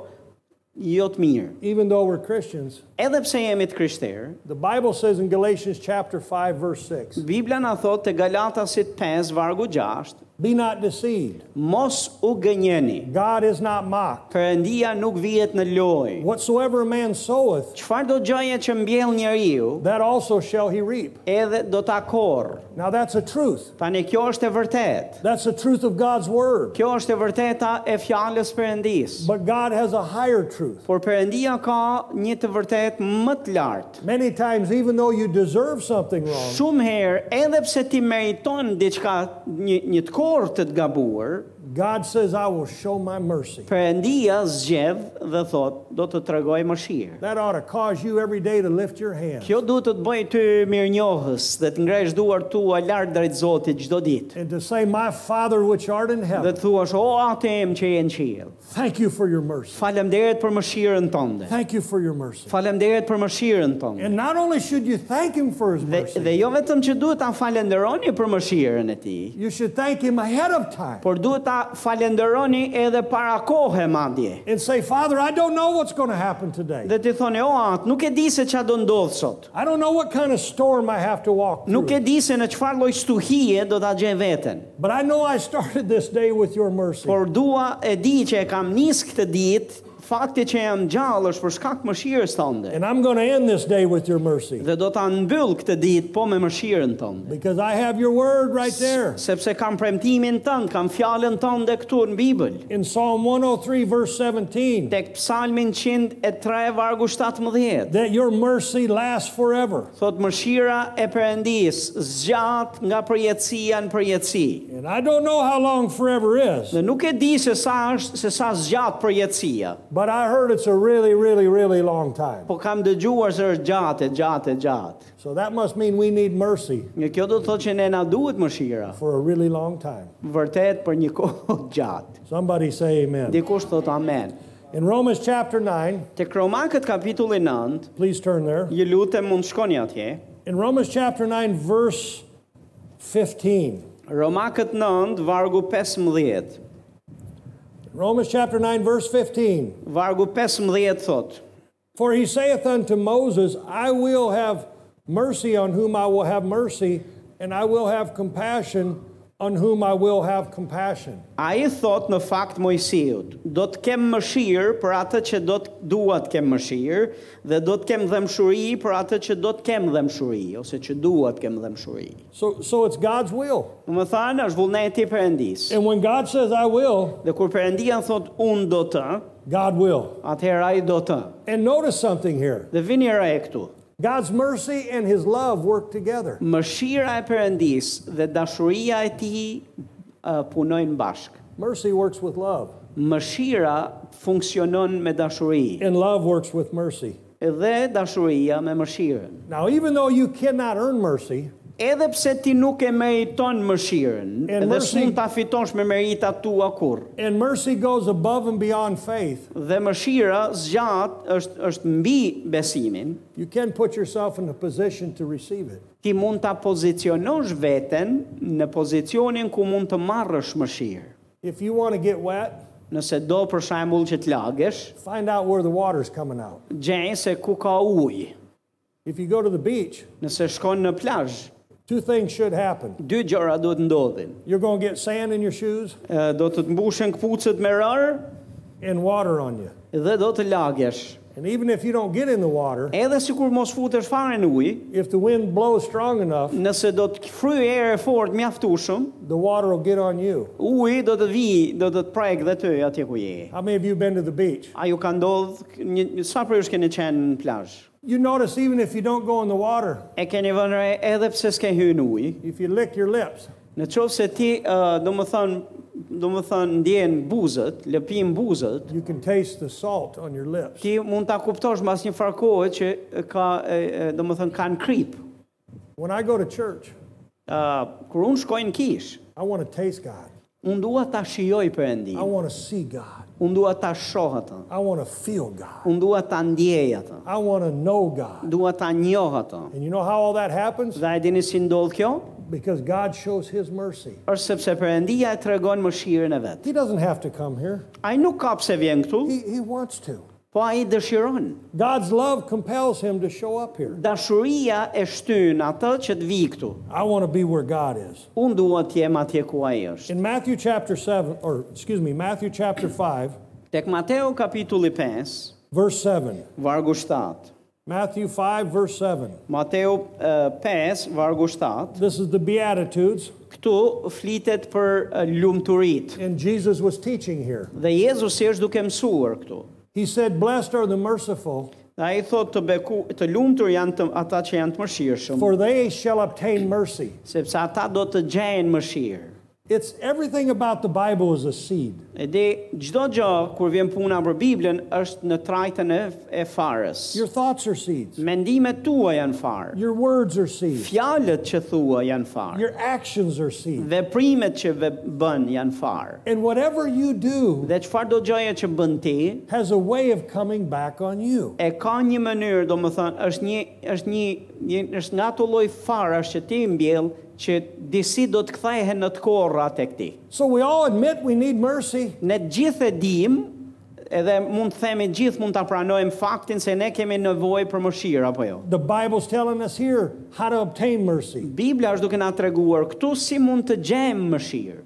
Speaker 2: jo të mirë.
Speaker 1: Even though we're Christians,
Speaker 2: Edhe pse jemi të krishterë,
Speaker 1: the Bible says in Galatians chapter 5 verse 6,
Speaker 2: Bibla na thot të Galatasit 5 vargu 6,
Speaker 1: be not deceived.
Speaker 2: mos u gënjeni.
Speaker 1: God is not mocked.
Speaker 2: Perëndia nuk vihet në lojë.
Speaker 1: Whatsoever a man soweth,
Speaker 2: Çfarë do gjëje që mbjell njeriu,
Speaker 1: that also shall he reap.
Speaker 2: edhe do ta korr.
Speaker 1: Now that's a truth.
Speaker 2: Tani kjo është e vërtetë.
Speaker 1: That's the truth of God's word.
Speaker 2: Kjo është e vërteta e fjalës Perëndis.
Speaker 1: But God has a higher truth.
Speaker 2: Por Perëndia ka një të vërtetë më të lartë.
Speaker 1: Many times, even though you deserve something wrong,
Speaker 2: Shumë herë, edhe pse ti meriton diçka një një të korrë të të gabuar,
Speaker 1: God says, I will show my mercy.
Speaker 2: Perëndia zgjedh dhe thot, do të tregoj mëshirë.
Speaker 1: That ought to cause you every day to lift your hand
Speaker 2: Kjo duhet të të bëjë ty mirënjohës dhe të ngresh duar tua lart drejt Zotit çdo ditë.
Speaker 1: and to say, My Father which art in
Speaker 2: Dhe
Speaker 1: heaven,
Speaker 2: të thuash, o atë em që je në qiell,
Speaker 1: thank you for your mercy.
Speaker 2: faleminderit për mëshirën tënde.
Speaker 1: Thank you for your mercy.
Speaker 2: Faleminderit për mëshirën tënde.
Speaker 1: And not only should you thank Him for His
Speaker 2: Dhe,
Speaker 1: mercy,
Speaker 2: dhe jo vetëm që duhet ta falenderoni për mëshirën e tij,
Speaker 1: you should thank Him ahead of time
Speaker 2: por duhet ta falenderoni edhe para kohë madje.
Speaker 1: and say, Father, I don't know what's going to happen today.
Speaker 2: Dhe ti thoni, o atë, nuk e di se ç'a do ndodh sot.
Speaker 1: I don't know what kind of storm I have to walk
Speaker 2: Nuk
Speaker 1: through,
Speaker 2: e di se në çfarë lloj stuhie do ta gjej veten.
Speaker 1: but I know I started this day with your mercy.
Speaker 2: Por dua e di që e kam nis këtë ditë fakti që jam gjallë është për shkak mëshirës tënde.
Speaker 1: And I'm going to end this day with your mercy
Speaker 2: Dhe do ta mbyll këtë ditë po me mëshirën tënde.
Speaker 1: because I have your word right there.
Speaker 2: Sepse kam premtimin tënd, kam fjalën tënde këtu në Bibël.
Speaker 1: In Psalm 103, verse 17,
Speaker 2: Tek Psalmin 103 vargu 17.
Speaker 1: that your mercy lasts forever.
Speaker 2: Thot mëshira e Perëndis zgjat nga përjetësia në përjetësi.
Speaker 1: And I don't know how long forever is,
Speaker 2: Dhe nuk e di se sa është se sa zgjat përjetësia,
Speaker 1: but I heard it's a really, really, really long time.
Speaker 2: po kam dëgjuar se është gjatë, e gjatë, e gjatë.
Speaker 1: So that must mean we need mercy
Speaker 2: Një kjo do të thotë që ne na duhet mëshira,
Speaker 1: for a really long time.
Speaker 2: vërtet për një kohë gjatë.
Speaker 1: Somebody say amen.
Speaker 2: Dikush thot amen.
Speaker 1: In Romans chapter 9,
Speaker 2: Te Kromakët kapitulli 9,
Speaker 1: please turn there.
Speaker 2: ju lutem mund shkoni atje.
Speaker 1: In Romans chapter 9, verse 15.
Speaker 2: Romakët 9, vargu 15.
Speaker 1: Romans chapter 9, verse 15.
Speaker 2: Vargu 15 thot,
Speaker 1: For he saith unto Moses, I will have mercy on whom I will have mercy, and I will have compassion on whom I will have compassion.
Speaker 2: A i thot në fakt Mojsiut, do të kem mëshirë për atë që do të dua të kem mëshirë dhe do të kem dhëmshuri për atë që do të kem dhëmshuri ose që dua të kem dhëmshuri.
Speaker 1: So, so it's God's will.
Speaker 2: Në më thanë, është vullneti i përëndis.
Speaker 1: And when God says, I will,
Speaker 2: Dhe kur përëndia thot, unë do të,
Speaker 1: God will.
Speaker 2: atëherë a i do të.
Speaker 1: And notice something here
Speaker 2: Dhe vini re këtu.
Speaker 1: God's mercy and his love work together.
Speaker 2: Mëshira e përëndis dhe dashuria e ti uh, punojnë bashkë.
Speaker 1: Mercy works with love,
Speaker 2: Mëshira funksionon me dashuri
Speaker 1: and love works with mercy.
Speaker 2: dhe dashuria me mëshirën.
Speaker 1: Now, even though you cannot earn mercy,
Speaker 2: Edhe pse ti nuk e meriton mëshirën,
Speaker 1: E
Speaker 2: edhe
Speaker 1: mërsi-
Speaker 2: s'mund ta fitosh me meritat tua kurr.
Speaker 1: and mercy goes above and beyond faith,
Speaker 2: Dhe mëshira zgjat është është mbi besimin.
Speaker 1: you can put yourself in a position to receive it.
Speaker 2: Ti mund ta pozicionosh veten në pozicionin ku mund të marrësh mëshirë.
Speaker 1: If you want to get wet,
Speaker 2: Nëse do për shembull që të lagesh,
Speaker 1: find out where the water's coming out.
Speaker 2: gjej se ku ka ujë.
Speaker 1: If you go to the beach,
Speaker 2: Nëse shkon në plazh,
Speaker 1: two things should happen.
Speaker 2: dy gjëra do të ndodhin.
Speaker 1: You're going to get sand in your shoes
Speaker 2: Ë, Do të të mbushen kputucët me rër
Speaker 1: and water on you.
Speaker 2: dhe do të lagesh.
Speaker 1: And even if you don't get in the water,
Speaker 2: Edhe sikur mos futesh fare në ujë,
Speaker 1: if the wind blows strong enough,
Speaker 2: nëse do të fryj erë fort mjaftueshëm,
Speaker 1: the water will get on you.
Speaker 2: uji do të vi, do të të prek dhe ty atje ku je.
Speaker 1: How many of you have been to the beach?
Speaker 2: A ju ka ndodh një një- sa për ju keni qenë në plazh?
Speaker 1: You notice even if you don't go in the water,
Speaker 2: E keni vënë re edhe pse s'ke hyrë në ujë.
Speaker 1: if you lick your lips,
Speaker 2: Në qovë se ti, uh, do më thënë, do më thënë, ndjenë buzët, lëpim buzët,
Speaker 1: you can taste the salt on your lips.
Speaker 2: ti mund ta kuptosh mas një farë kohë që ka, e, e, do më thënë, kanë krip.
Speaker 1: When I go to church,
Speaker 2: Uh, kur unë shkoj në kish,
Speaker 1: I want to taste God.
Speaker 2: unë dua ta shioj për endi,
Speaker 1: I want to see God.
Speaker 2: unë dua ta shoh atë,
Speaker 1: I want to feel God.
Speaker 2: unë dua ta ndjej atë,
Speaker 1: I want to know God.
Speaker 2: dua ta njoh atë.
Speaker 1: And you know how all that happens?
Speaker 2: Dhe e dini si ndodh kjo?
Speaker 1: Because God shows His mercy.
Speaker 2: është sepse Perëndia e tregon mëshirën e vet.
Speaker 1: He doesn't have to come here,
Speaker 2: Ai nuk ka pse vjen këtu,
Speaker 1: He, he wants to.
Speaker 2: po ai dëshiron.
Speaker 1: God's love compels Him to show up here.
Speaker 2: Dashuria e shtyn atë që të vi këtu.
Speaker 1: I want to be where God is.
Speaker 2: Unë dua të jem atje ku ai është.
Speaker 1: In Matthew chapter 7, or excuse me, Matthew chapter 5,
Speaker 2: Tek Mateu kapitulli 5,
Speaker 1: verse 7.
Speaker 2: vargu 7.
Speaker 1: Matthew 5, verse 7.
Speaker 2: Mateu eh, 5, vargu 7.
Speaker 1: This is the Beatitudes,
Speaker 2: Këtu flitet për eh, lumturit.
Speaker 1: and Jesus was teaching here.
Speaker 2: Dhe Jezusi është duke mësuar këtu.
Speaker 1: He said, Blessed are the merciful,
Speaker 2: Dhe ai thotë të beku, të lumtur janë të, ata që janë të mëshirshëm,
Speaker 1: for they shall obtain mercy.
Speaker 2: sepse ata do të gjejnë mëshirë.
Speaker 1: It's everything about the Bible is a seed.
Speaker 2: E di, gjdo gjë kur vjen puna për Biblën është në trajtën e, e farës.
Speaker 1: Your thoughts are seeds,
Speaker 2: Mendimet tua janë farë.
Speaker 1: your words are seeds,
Speaker 2: Fjalët që thua janë farë.
Speaker 1: your actions are seeds.
Speaker 2: Veprimet që ve bën janë farë.
Speaker 1: And whatever you do
Speaker 2: Dhe çfarë do gjëje që bën ti,
Speaker 1: has a way of coming back on you.
Speaker 2: e ka një mënyrë, do më thënë, është një, është një, një është nga të loj farësh që ti mbjell, që disi do të kthehen në të korra tek ti.
Speaker 1: So we all admit we need mercy,
Speaker 2: Ne gjithë e dim, edhe mund të themi gjithë mund të pranojmë faktin se ne kemi nevojë për mëshirë apo jo.
Speaker 1: The Bible's telling us here how to obtain mercy,
Speaker 2: Bibla është duke na treguar këtu si mund të gjejmë mëshirë.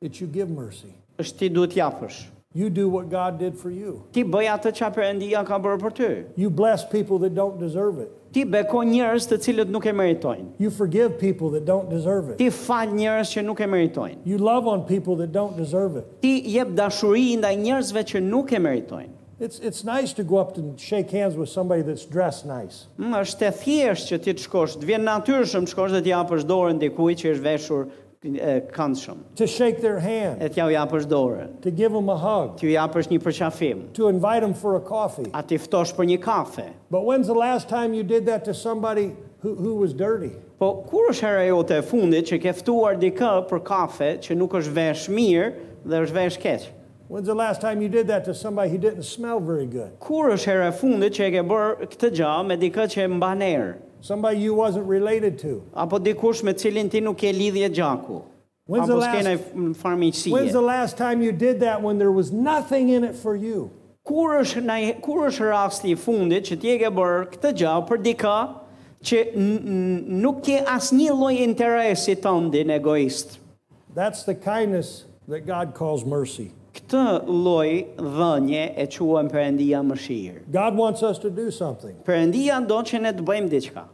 Speaker 1: that you give mercy.
Speaker 2: Është ti duhet japësh.
Speaker 1: You do what God did for you.
Speaker 2: Ti bëj atë çfarë Perëndia ka bërë për ty.
Speaker 1: You bless people that don't deserve it.
Speaker 2: Ti beko njerëz të cilët nuk e meritojnë.
Speaker 1: You forgive people that don't deserve it.
Speaker 2: Ti fal njerëz që nuk e meritojnë.
Speaker 1: You love on people that don't deserve it.
Speaker 2: Ti jep dashuri ndaj njerëzve që nuk e meritojnë.
Speaker 1: It's, it's nice to go up and shake hands with somebody that's dressed nice.
Speaker 2: Mm, është e thjeshtë që ti të shkosh, të vjen natyrshëm të shkosh dhe të japësh dorën dikujt që është veshur e këndshëm.
Speaker 1: To shake their
Speaker 2: E
Speaker 1: hand,
Speaker 2: t'ja u japësh dorën,
Speaker 1: to give them a hug,
Speaker 2: t'ju japësh një përqafim,
Speaker 1: to invite them for a coffee.
Speaker 2: a t'i ftosh për një kafe.
Speaker 1: But when's the last time you did that to somebody who, who was dirty?
Speaker 2: Po kur është hera jote e fundit që ke ftuar dikë për kafe që nuk është vesh mirë dhe është vesh keq?
Speaker 1: When's the last time you did that to somebody who didn't smell very good?
Speaker 2: Kur është hera e fundit që e ke bërë këtë gjë me dikë që e mban erë?
Speaker 1: Somebody you wasn't related to?
Speaker 2: Apo dikush me cilin ti nuk ke lidhje gjaku?
Speaker 1: When's the
Speaker 2: Apo
Speaker 1: last-
Speaker 2: s'kene
Speaker 1: When's
Speaker 2: farmiqësie?
Speaker 1: the last time you did that when there was nothing in it for you?
Speaker 2: Kur është ndaj- kur është rasti i fundit që ti e ke bërë këtë gjë për dikë që n- n- nuk ke asnjë lloj interesi tëndin egoist?
Speaker 1: That's the kindness that God calls mercy.
Speaker 2: Këtë lloj dhënie e quajmë Perëndia mëshirë.
Speaker 1: God wants us to do something.
Speaker 2: Perëndia do që ne të bëjmë diçka.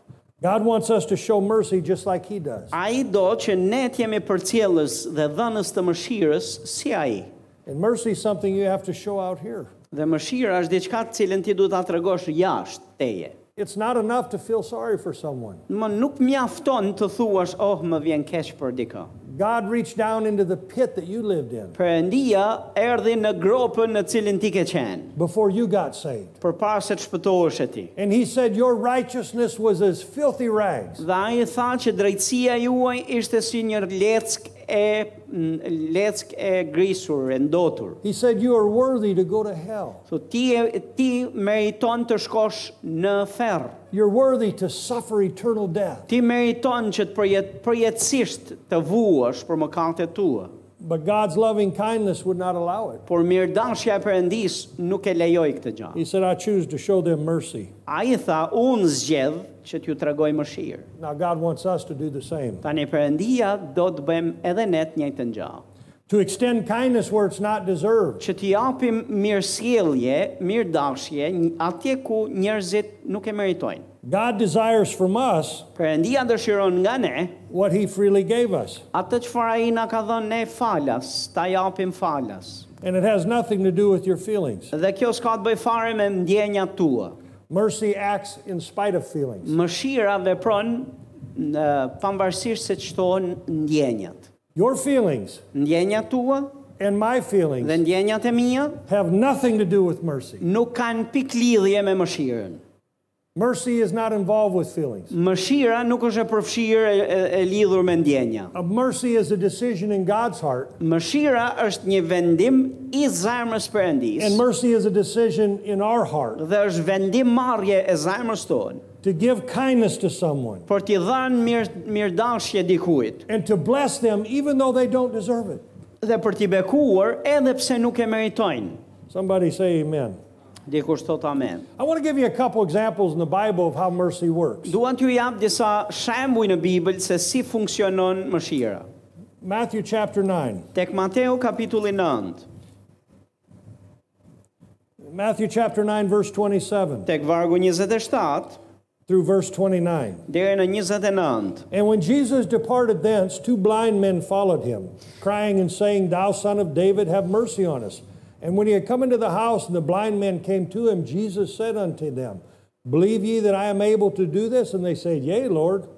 Speaker 1: God wants us to show mercy just like He does.
Speaker 2: Ai do që ne të jemi përcjellës dhe dhënës të mëshirës si ai.
Speaker 1: And mercy is something you have to show out here.
Speaker 2: Dhe mëshira është diçka të cilën ti duhet ta tregosh jashtë teje.
Speaker 1: It's not enough to feel sorry for someone.
Speaker 2: Më nuk mjafton të thuash, "Oh, më vjen keq për dikë."
Speaker 1: God reached down into the pit that you lived in
Speaker 2: Perëndia erdhi në gropën në cilin ti ke qenë,
Speaker 1: before you got saved.
Speaker 2: përpara se të shpëtohesh e ti.
Speaker 1: And He said, Your righteousness was as filthy rags.
Speaker 2: Dhe ai tha që drejtësia juaj ishte si një leck e mm, leck e grisur, e ndotur.
Speaker 1: He said, You are worthy to go to hell.
Speaker 2: So ti e- ti meriton të shkosh në ferr.
Speaker 1: You're worthy to suffer eternal death.
Speaker 2: Ti meriton që të përjet, përjetësisht të vuash për mëkatet tua.
Speaker 1: But God's loving kindness would not allow it.
Speaker 2: Por mirëdashja e Perëndis nuk e lejoi këtë gjë.
Speaker 1: He said, I choose to show them mercy.
Speaker 2: Ai tha, unë zgjedh që t'ju tregoj mëshirë.
Speaker 1: Now, God wants us to do the same.
Speaker 2: Tani Perëndia do të bëjmë edhe ne të njëjtën gjë.
Speaker 1: To extend kindness where it's not deserved.
Speaker 2: Që t'i japim mirësjellje, mirëdashje n- atje ku njerëzit nuk e meritojnë.
Speaker 1: God desires from us
Speaker 2: Perëndia dëshiron nga ne
Speaker 1: what He freely gave us.
Speaker 2: atë çfarë ai na ka dhënë ne falas, ta japim falas.
Speaker 1: And it has nothing to do with your feelings.
Speaker 2: Dhe kjo s'ka të bëj fare me ndjenjat tua.
Speaker 1: Mercy acts in spite of feelings.
Speaker 2: Mëshira vepron në pavarësisht se çtohen ndjenjat.
Speaker 1: Your feelings
Speaker 2: Ndjenjat tua
Speaker 1: and my
Speaker 2: dhe
Speaker 1: feelings
Speaker 2: ndjenjat e mia
Speaker 1: have nothing to do with mercy.
Speaker 2: nuk kanë piklidhje me mëshirën.
Speaker 1: Mercy is not involved with feelings.
Speaker 2: Mëshira nuk është e përfshirë e, e, e lidhur me ndjenja.
Speaker 1: A mercy is a decision in God's heart,
Speaker 2: Mëshira është një vendim i zemrës Perëndis
Speaker 1: and mercy is a decision in our heart
Speaker 2: dhe është vendim marrje e zemrës tonë
Speaker 1: to give kindness to someone
Speaker 2: për t'i dhënë mirë mirëdashje dikujt
Speaker 1: and to bless them even though they don't deserve it.
Speaker 2: dhe për t'i bekuar edhe pse nuk e meritojnë.
Speaker 1: Somebody say amen.
Speaker 2: Dikush thot amen.
Speaker 1: I want to give you a couple examples in the Bible of how mercy works.
Speaker 2: Duan t'ju jap disa shembuj në Bibël se si funksionon mëshira.
Speaker 1: Matthew chapter 9.
Speaker 2: Tek Mateu kapitulli 9,
Speaker 1: Matthew chapter 9, verse 27
Speaker 2: tek vargu 27
Speaker 1: through verse 29.
Speaker 2: deri në 29.
Speaker 1: And when Jesus departed thence, two blind men followed him, crying and saying, Thou son of David, have mercy on us. And when he had come into the house and the blind men came to him, Jesus said unto them, Believe ye that I am able to do this? And they said, Yea, Lord.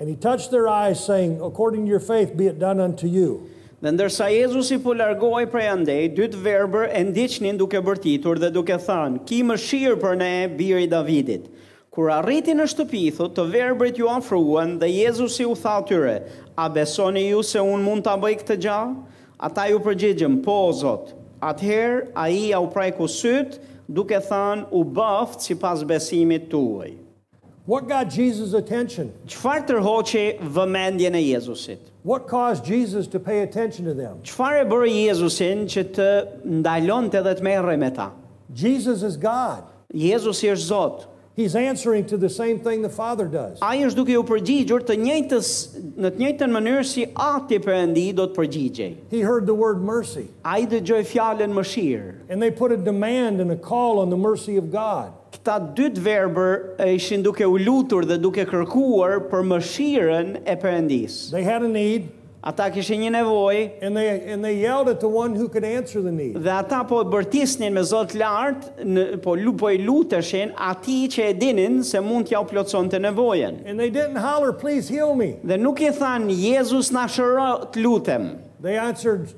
Speaker 1: And he touched their eyes, saying, According to your faith be it done unto you.
Speaker 2: Dhe ndërsa Jezusi po largohej prej andej, dy të verbër e ndiqnin duke bërtitur dhe duke thënë: "Ki mëshirë për ne, biri i Davidit." Kur arriti në shtëpi, thot, të verbrit ju ofruan dhe Jezusi u tha atyre: "A besoni ju se un mund ta bëj këtë gjë?" Ata ju përgjigjën: "Po, o Zot." Atëherë ai ja u preku syt, duke thënë: "U bëft sipas besimit tuaj."
Speaker 1: What got Jesus' attention?
Speaker 2: Çfarë tërhoqi vëmendjen e Jezusit?
Speaker 1: What caused Jesus to pay attention to them?
Speaker 2: Qëfar e bërë Jezusin që të ndalon të dhe të merre me ta?
Speaker 1: Jesus is God.
Speaker 2: Jezusi është Zotë.
Speaker 1: He's answering to the same thing the Father does.
Speaker 2: Ai është duke u përgjigjur të njëjtës në të njëjtën mënyrë si Ati Perëndi do të përgjigjej.
Speaker 1: He heard the word mercy,
Speaker 2: Ai dëgjoi fjalën mëshirë.
Speaker 1: and they put a demand and a call on the mercy of God.
Speaker 2: Këta dy të verbër e ishin duke u lutur dhe duke kërkuar për mëshirën e Perëndisë.
Speaker 1: They had a need,
Speaker 2: Ata kishin një nevojë
Speaker 1: and they, and they yelled at the one who could answer the need.
Speaker 2: dhe ata po e bërtisnin me Zot lart, në, po lu po i luteshin atij që e dinin se mund t'ja u plotësonte nevojën.
Speaker 1: And they didn't holler, Please heal me.
Speaker 2: Dhe nuk i than Jezus na shëro të lutem,
Speaker 1: They answered,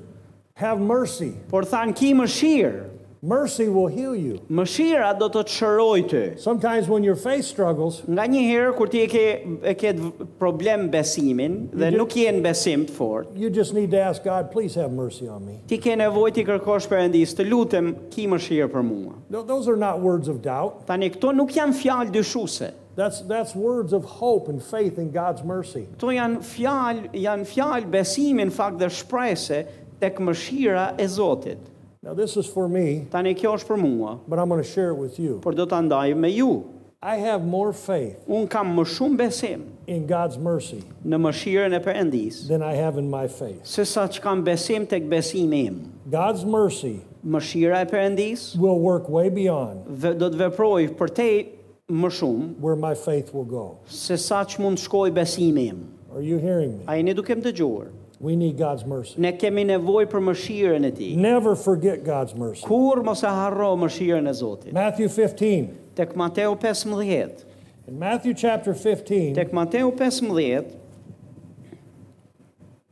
Speaker 1: Have mercy.
Speaker 2: por than ki mëshirë.
Speaker 1: Mercy will heal you.
Speaker 2: Mëshira do të të shëroj ty.
Speaker 1: Sometimes when your faith struggles,
Speaker 2: Nga një herë kur ti e ke e ke dv- problem besimin dhe nuk je në besim të fortë,
Speaker 1: you just need to ask God, Please have mercy on me.
Speaker 2: ti ke nevojë ti kërkosh Perëndis, të lutem ki mëshirë për mua.
Speaker 1: No, those are not words of doubt.
Speaker 2: Tani këto nuk janë fjalë dyshuese.
Speaker 1: That's, that's words of hope and faith in God's mercy.
Speaker 2: Këto janë fjalë, janë fjalë besimi në fakt dhe shpresë tek mëshira e Zotit.
Speaker 1: Now, this is for me,
Speaker 2: Tani kjo është për mua,
Speaker 1: but I'm going to share it with you.
Speaker 2: por do ta ndaj me ju.
Speaker 1: I have more faith
Speaker 2: Un kam më shumë besim
Speaker 1: in God's mercy
Speaker 2: në mëshirën e Perëndis
Speaker 1: than I have in my faith.
Speaker 2: se sa që kam besim tek besimi im.
Speaker 1: God's mercy
Speaker 2: Mëshira e Perëndis
Speaker 1: will work way beyond
Speaker 2: ve- do të veproj për te më shumë
Speaker 1: where my faith will go.
Speaker 2: se sa që mund të shkoj besimi im.
Speaker 1: Are you hearing me?
Speaker 2: A jeni duke më dëgjuar?
Speaker 1: We need God's mercy.
Speaker 2: Ne kemi nevojë për mëshirën e Tij.
Speaker 1: Never forget God's mercy.
Speaker 2: Kur mos e harro mëshirën e Zotit.
Speaker 1: Matthew 15.
Speaker 2: Tek Mateu 15,
Speaker 1: In Matthew chapter 15,
Speaker 2: tek Mateu 15,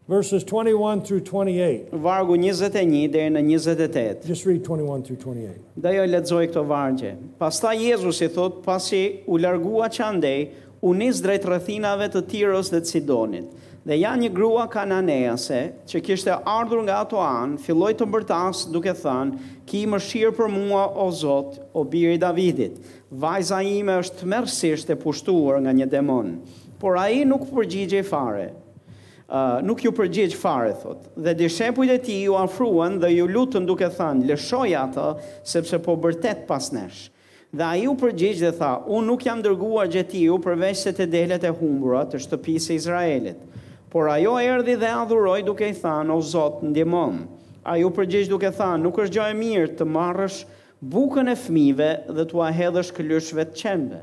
Speaker 1: verses 21 through 28.
Speaker 2: vargu 21 deri në 28.
Speaker 1: Just read 21 through 28.
Speaker 2: Dhe jo lexoj këto vargje. Pastaj Jezus i thot, pasi u largua që andej, u nis drejt rrethinave të Tiros dhe të Sidonit. Dhe ja një grua kananease që kishte ardhur nga ato anë, filloi të mbërtas duke thënë, "Ki mëshirë për mua, o Zot, o biri i Davidit. Vajza ime është tmerrsisht e pushtuar nga një demon." Por ai nuk përgjigjej fare. Uh, nuk ju përgjigj fare, thot. Dhe dishepujt e tij ju afruan dhe ju lutën duke thënë, lëshoj atë, sepse po bërtet pas nesh. Dhe ai u përgjigj dhe tha, unë nuk jam dërguar gjetiu përveç se të delet e humbura të shtëpisë e Izraelit. Por ajo erdhi dhe adhuroi duke i thënë, o Zot, ndihmon. Ai u përgjigj duke thënë, nuk është gjë e mirë të marrësh bukën e fëmijëve dhe t'ua hedhësh këlyshve të qenve.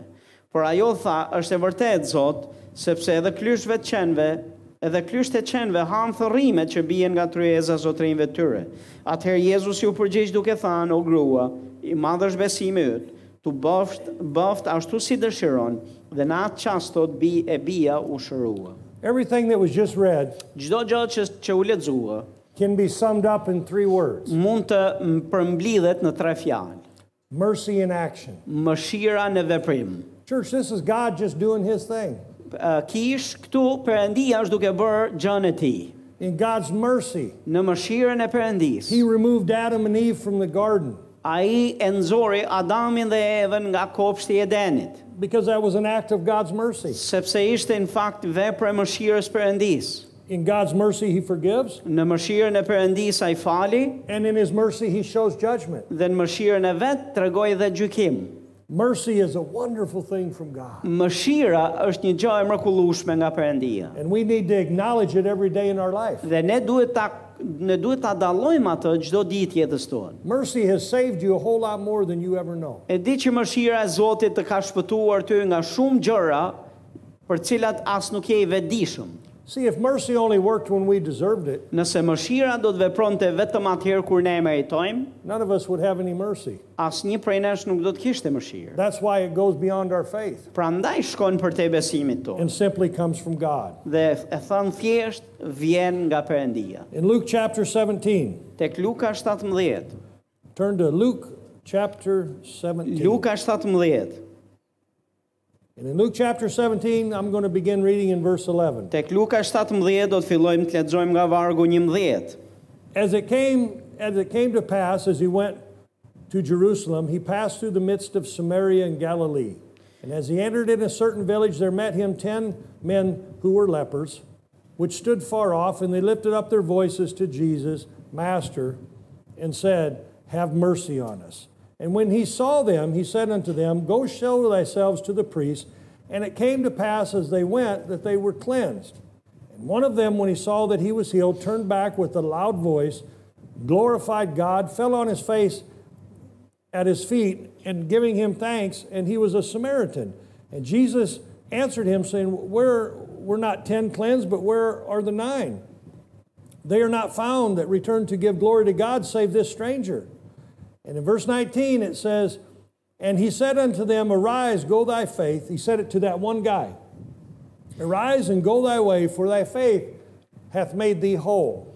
Speaker 2: Por ajo tha, është e vërtet, Zot, sepse edhe klyshve të qenve, edhe klysht e qenve hanë thërrimet që bien nga tryeza zotrinve tyre. Atëherë Jezus ju përgjigj duke thënë, o grua, i madh është besimi yt, tu bëft, bëft ashtu si dëshiron, dhe në atë qasë thot, bi, e bia u shërua.
Speaker 1: Everything that was just read
Speaker 2: Çdo gjë që, që u lexua
Speaker 1: can be summed up in three words
Speaker 2: mund të m- përmblidhet në tre fjalë.
Speaker 1: mercy in action.
Speaker 2: Mëshira në veprim.
Speaker 1: Church, this is God just doing his thing.
Speaker 2: Ë, Kish këtu Perëndia është duke bërë gjën e tij.
Speaker 1: In God's mercy,
Speaker 2: Në mëshirën e Perëndis.
Speaker 1: he removed Adam and Eve from the garden
Speaker 2: Ai e nxori Adamin dhe Evën nga kopshti i Edenit,
Speaker 1: because that was an act of God's mercy.
Speaker 2: sepse ishte në fakt vepra e mëshirës Perëndis.
Speaker 1: In God's mercy, he forgives,
Speaker 2: Në mëshirën e Perëndis ai fali
Speaker 1: and in his mercy, he shows judgment.
Speaker 2: dhe në mëshirën e vet tregoi dhe gjykim.
Speaker 1: Mercy is a wonderful thing from God,
Speaker 2: Mëshira është një gjë e mrekullueshme nga Perëndia.
Speaker 1: and we need to acknowledge it every day in our life.
Speaker 2: Dhe ne duhet ta ne duhet ta dallojmë atë çdo ditë jetës tonë.
Speaker 1: Mercy has saved you a whole lot more than you ever know.
Speaker 2: E di që mëshira e Zotit të ka shpëtuar ty nga shumë gjëra për cilat as nuk je i vetëdijshëm.
Speaker 1: See, if mercy only worked when we deserved it,
Speaker 2: Nëse mëshira do të vepronte vetëm atëherë kur ne e meritojmë,
Speaker 1: none of us would have any mercy.
Speaker 2: asnjë prej nesh nuk do të kishte mëshirë.
Speaker 1: That's why it goes beyond our faith
Speaker 2: Prandaj shkon për te besimit tonë
Speaker 1: and simply comes from God.
Speaker 2: dhe e thon thjesht vjen nga Perëndia.
Speaker 1: In Luke chapter 17,
Speaker 2: Tek Luka 17,
Speaker 1: Turn to Luke chapter 17.
Speaker 2: Luka 17,
Speaker 1: And in Luke chapter 17, I'm going to begin reading in verse 11.
Speaker 2: tek Luka 17 do të fillojmë të lexojmë nga vargu 11.
Speaker 1: As it came as it came to pass as he went to Jerusalem, he passed through the midst of Samaria and Galilee. And as he entered in a certain village, there met him 10 men who were lepers, which stood far off, and they lifted up their voices to Jesus, Master, and said, "Have mercy on us." And when he saw them, he said unto them, Go show thyselves to the priests. And it came to pass as they went that they were cleansed. And one of them, when he saw that he was healed, turned back with a loud voice, glorified God, fell on his face at his feet, and giving him thanks. And he was a Samaritan. And Jesus answered him, saying, Where were not ten cleansed, but where are the nine? They are not found that return to give glory to God, save this stranger. And in verse 19 it says, And he said unto them, Arise, go thy faith. He said it to that one guy. Arise and go thy way, for thy faith hath made thee whole.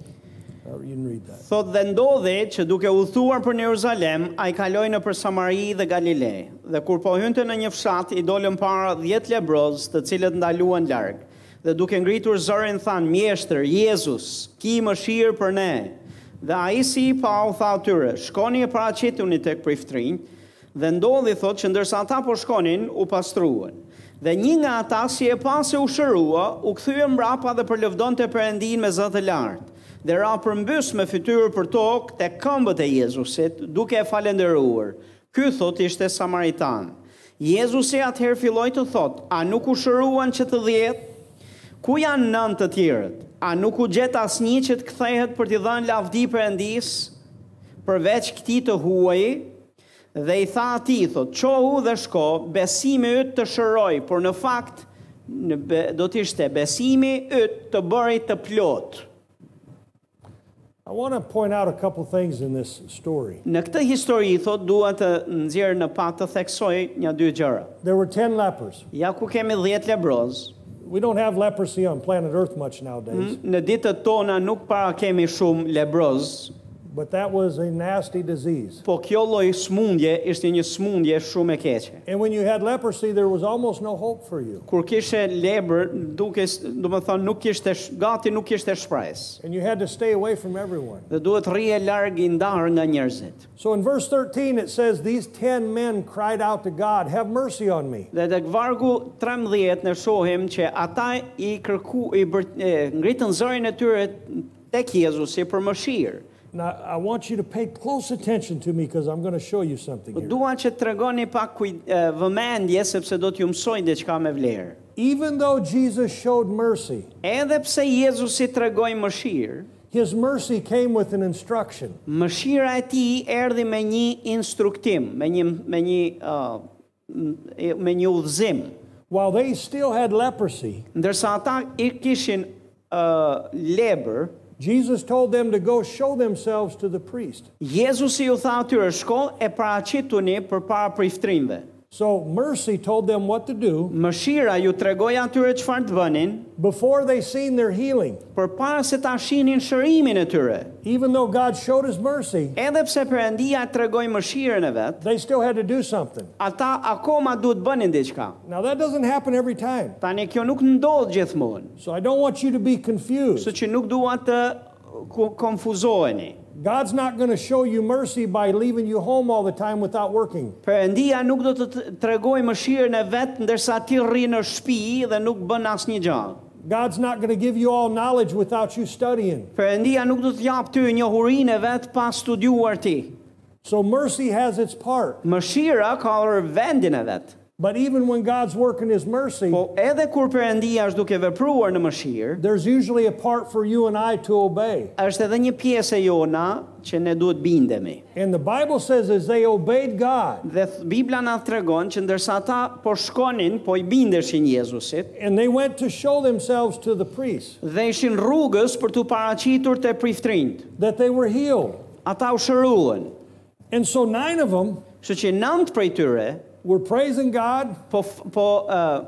Speaker 1: Uh, you can read that.
Speaker 2: Thot dhe ndodhi që duke u thuar për në Jeruzalem, a i kaloi në për Samari dhe Galile, dhe kur po hynte në një fshat, i dolën para dhjetë lebroz të cilët ndaluan largë, dhe duke ngritur zërin than, mjeshtër, Jezus, ki më shirë për ne, dhe a i si i pa u tha atyre, shkoni e para qituni tek priftrin, dhe ndodhi thot që ndërsa ata po shkonin, u pastruan. Dhe një nga ata si e pa se u shërua, u kthye mbrapa dhe përlëvdonte të përëndin me zë të lartë dhe ra përmbys me fytyrë për tokë te këmbët e Jezusit, duke e falenderuar. Ky thot ishte samaritan. Jezusi atëherë filloi të thot, a nuk u shëruan që të dhjetë? Ku janë nën të tjerët? A nuk u gjet asnjë që të kthehet për t'i dhënë lavdi Perëndis? Përveç këtij të huaj, dhe i tha atij, thot, qohu dhe shko, besimi yt të shëroj, por në fakt në be, do të ishte besimi yt të bëri të plotë.
Speaker 1: I want to point out a couple things in this story.
Speaker 2: Në këtë histori thot dua të nxjerr në pak të theksoj një dy gjëra.
Speaker 1: There were 10 lepers.
Speaker 2: Ja ku kemi 10 lebroz.
Speaker 1: We don't have leprosy on planet Earth much nowadays,
Speaker 2: Në ditët tona nuk para kemi shumë lebroz,
Speaker 1: but that was a nasty disease.
Speaker 2: po kjo lloj smundje ishte një smundje shumë e keqe.
Speaker 1: And when you had leprosy, there was almost no hope for you.
Speaker 2: Kur kishe lebër, duke, do të thonë nuk kishte sh- gati nuk kishte shpresë.
Speaker 1: And you had to stay away from everyone.
Speaker 2: Dhe duhet rrije larg i ndar nga njerëzit.
Speaker 1: So in verse 13, it says, These 10 men cried out to God, Have mercy on me.
Speaker 2: Dhe tek vargu 13 në shohim që ata i kërku i bër, e, ngritën zërin e tyre tek Jezusi për mëshirë.
Speaker 1: Now, I want you to pay close attention to me because I'm going to show you something
Speaker 2: Po
Speaker 1: here.
Speaker 2: dua që të tregoni pak kuj, e, vëmendje sepse do t'ju mësoj diçka me vlerë.
Speaker 1: Even though Jesus showed mercy,
Speaker 2: Edhe pse Jezusi tregoi mëshirë,
Speaker 1: his mercy came with an instruction.
Speaker 2: mëshira e tij erdhi me një instruktim, me një me një uh, me një udhëzim.
Speaker 1: While they still had leprosy,
Speaker 2: Ndërsa ata i kishin uh, lebër,
Speaker 1: Jesus told them to go show themselves to the priest.
Speaker 2: Jezusi ju tha atyre, shko e paraqituni përpara priftrinëve.
Speaker 1: So mercy told them what to do
Speaker 2: Mëshira ju tregoi atyre çfarë të bënin,
Speaker 1: before they seen their healing.
Speaker 2: përpara se ta shihnin shërimin e tyre.
Speaker 1: Even though God showed his mercy,
Speaker 2: Edhe pse Perëndia tregoi mëshirën e vet,
Speaker 1: they still had to do something.
Speaker 2: ata akoma duhet bënin diçka.
Speaker 1: Now that doesn't happen every time.
Speaker 2: Tani kjo nuk ndodh gjithmonë,
Speaker 1: So I don't want you to be confused.
Speaker 2: kështu që nuk dua të ku- konfuzoheni.
Speaker 1: God's not going to show you mercy by leaving you home all the time without working.
Speaker 2: Perëndia nuk do të t- tregoj mëshirën e vet ndërsa ti rri në shtëpi dhe nuk bën asnjë gjë.
Speaker 1: God's not going to give you all knowledge without you studying.
Speaker 2: Perëndia nuk do të jap ty njohurinë e vet pa studiuar ti.
Speaker 1: So mercy has its part.
Speaker 2: Mëshira ka orë vendin e vet.
Speaker 1: But even when God's working his mercy,
Speaker 2: Po edhe kur Perëndia është duke vepruar në mëshirë,
Speaker 1: there's usually a part for you and I to obey.
Speaker 2: është edhe një pjesë e jona që ne duhet bindemi.
Speaker 1: And the Bible says as they obeyed God
Speaker 2: Dhe th- Bibla na tregon që ndërsa ata po shkonin, po i bindeshin Jezusit,
Speaker 1: and they went to show themselves to the priests
Speaker 2: dhe ishin rrugës për t'u paraqitur te priftrinjt.
Speaker 1: that they were healed.
Speaker 2: Ata u shëruan.
Speaker 1: And so nine of them
Speaker 2: Kështu që nëntë prej tyre
Speaker 1: were praising God
Speaker 2: po f- po uh,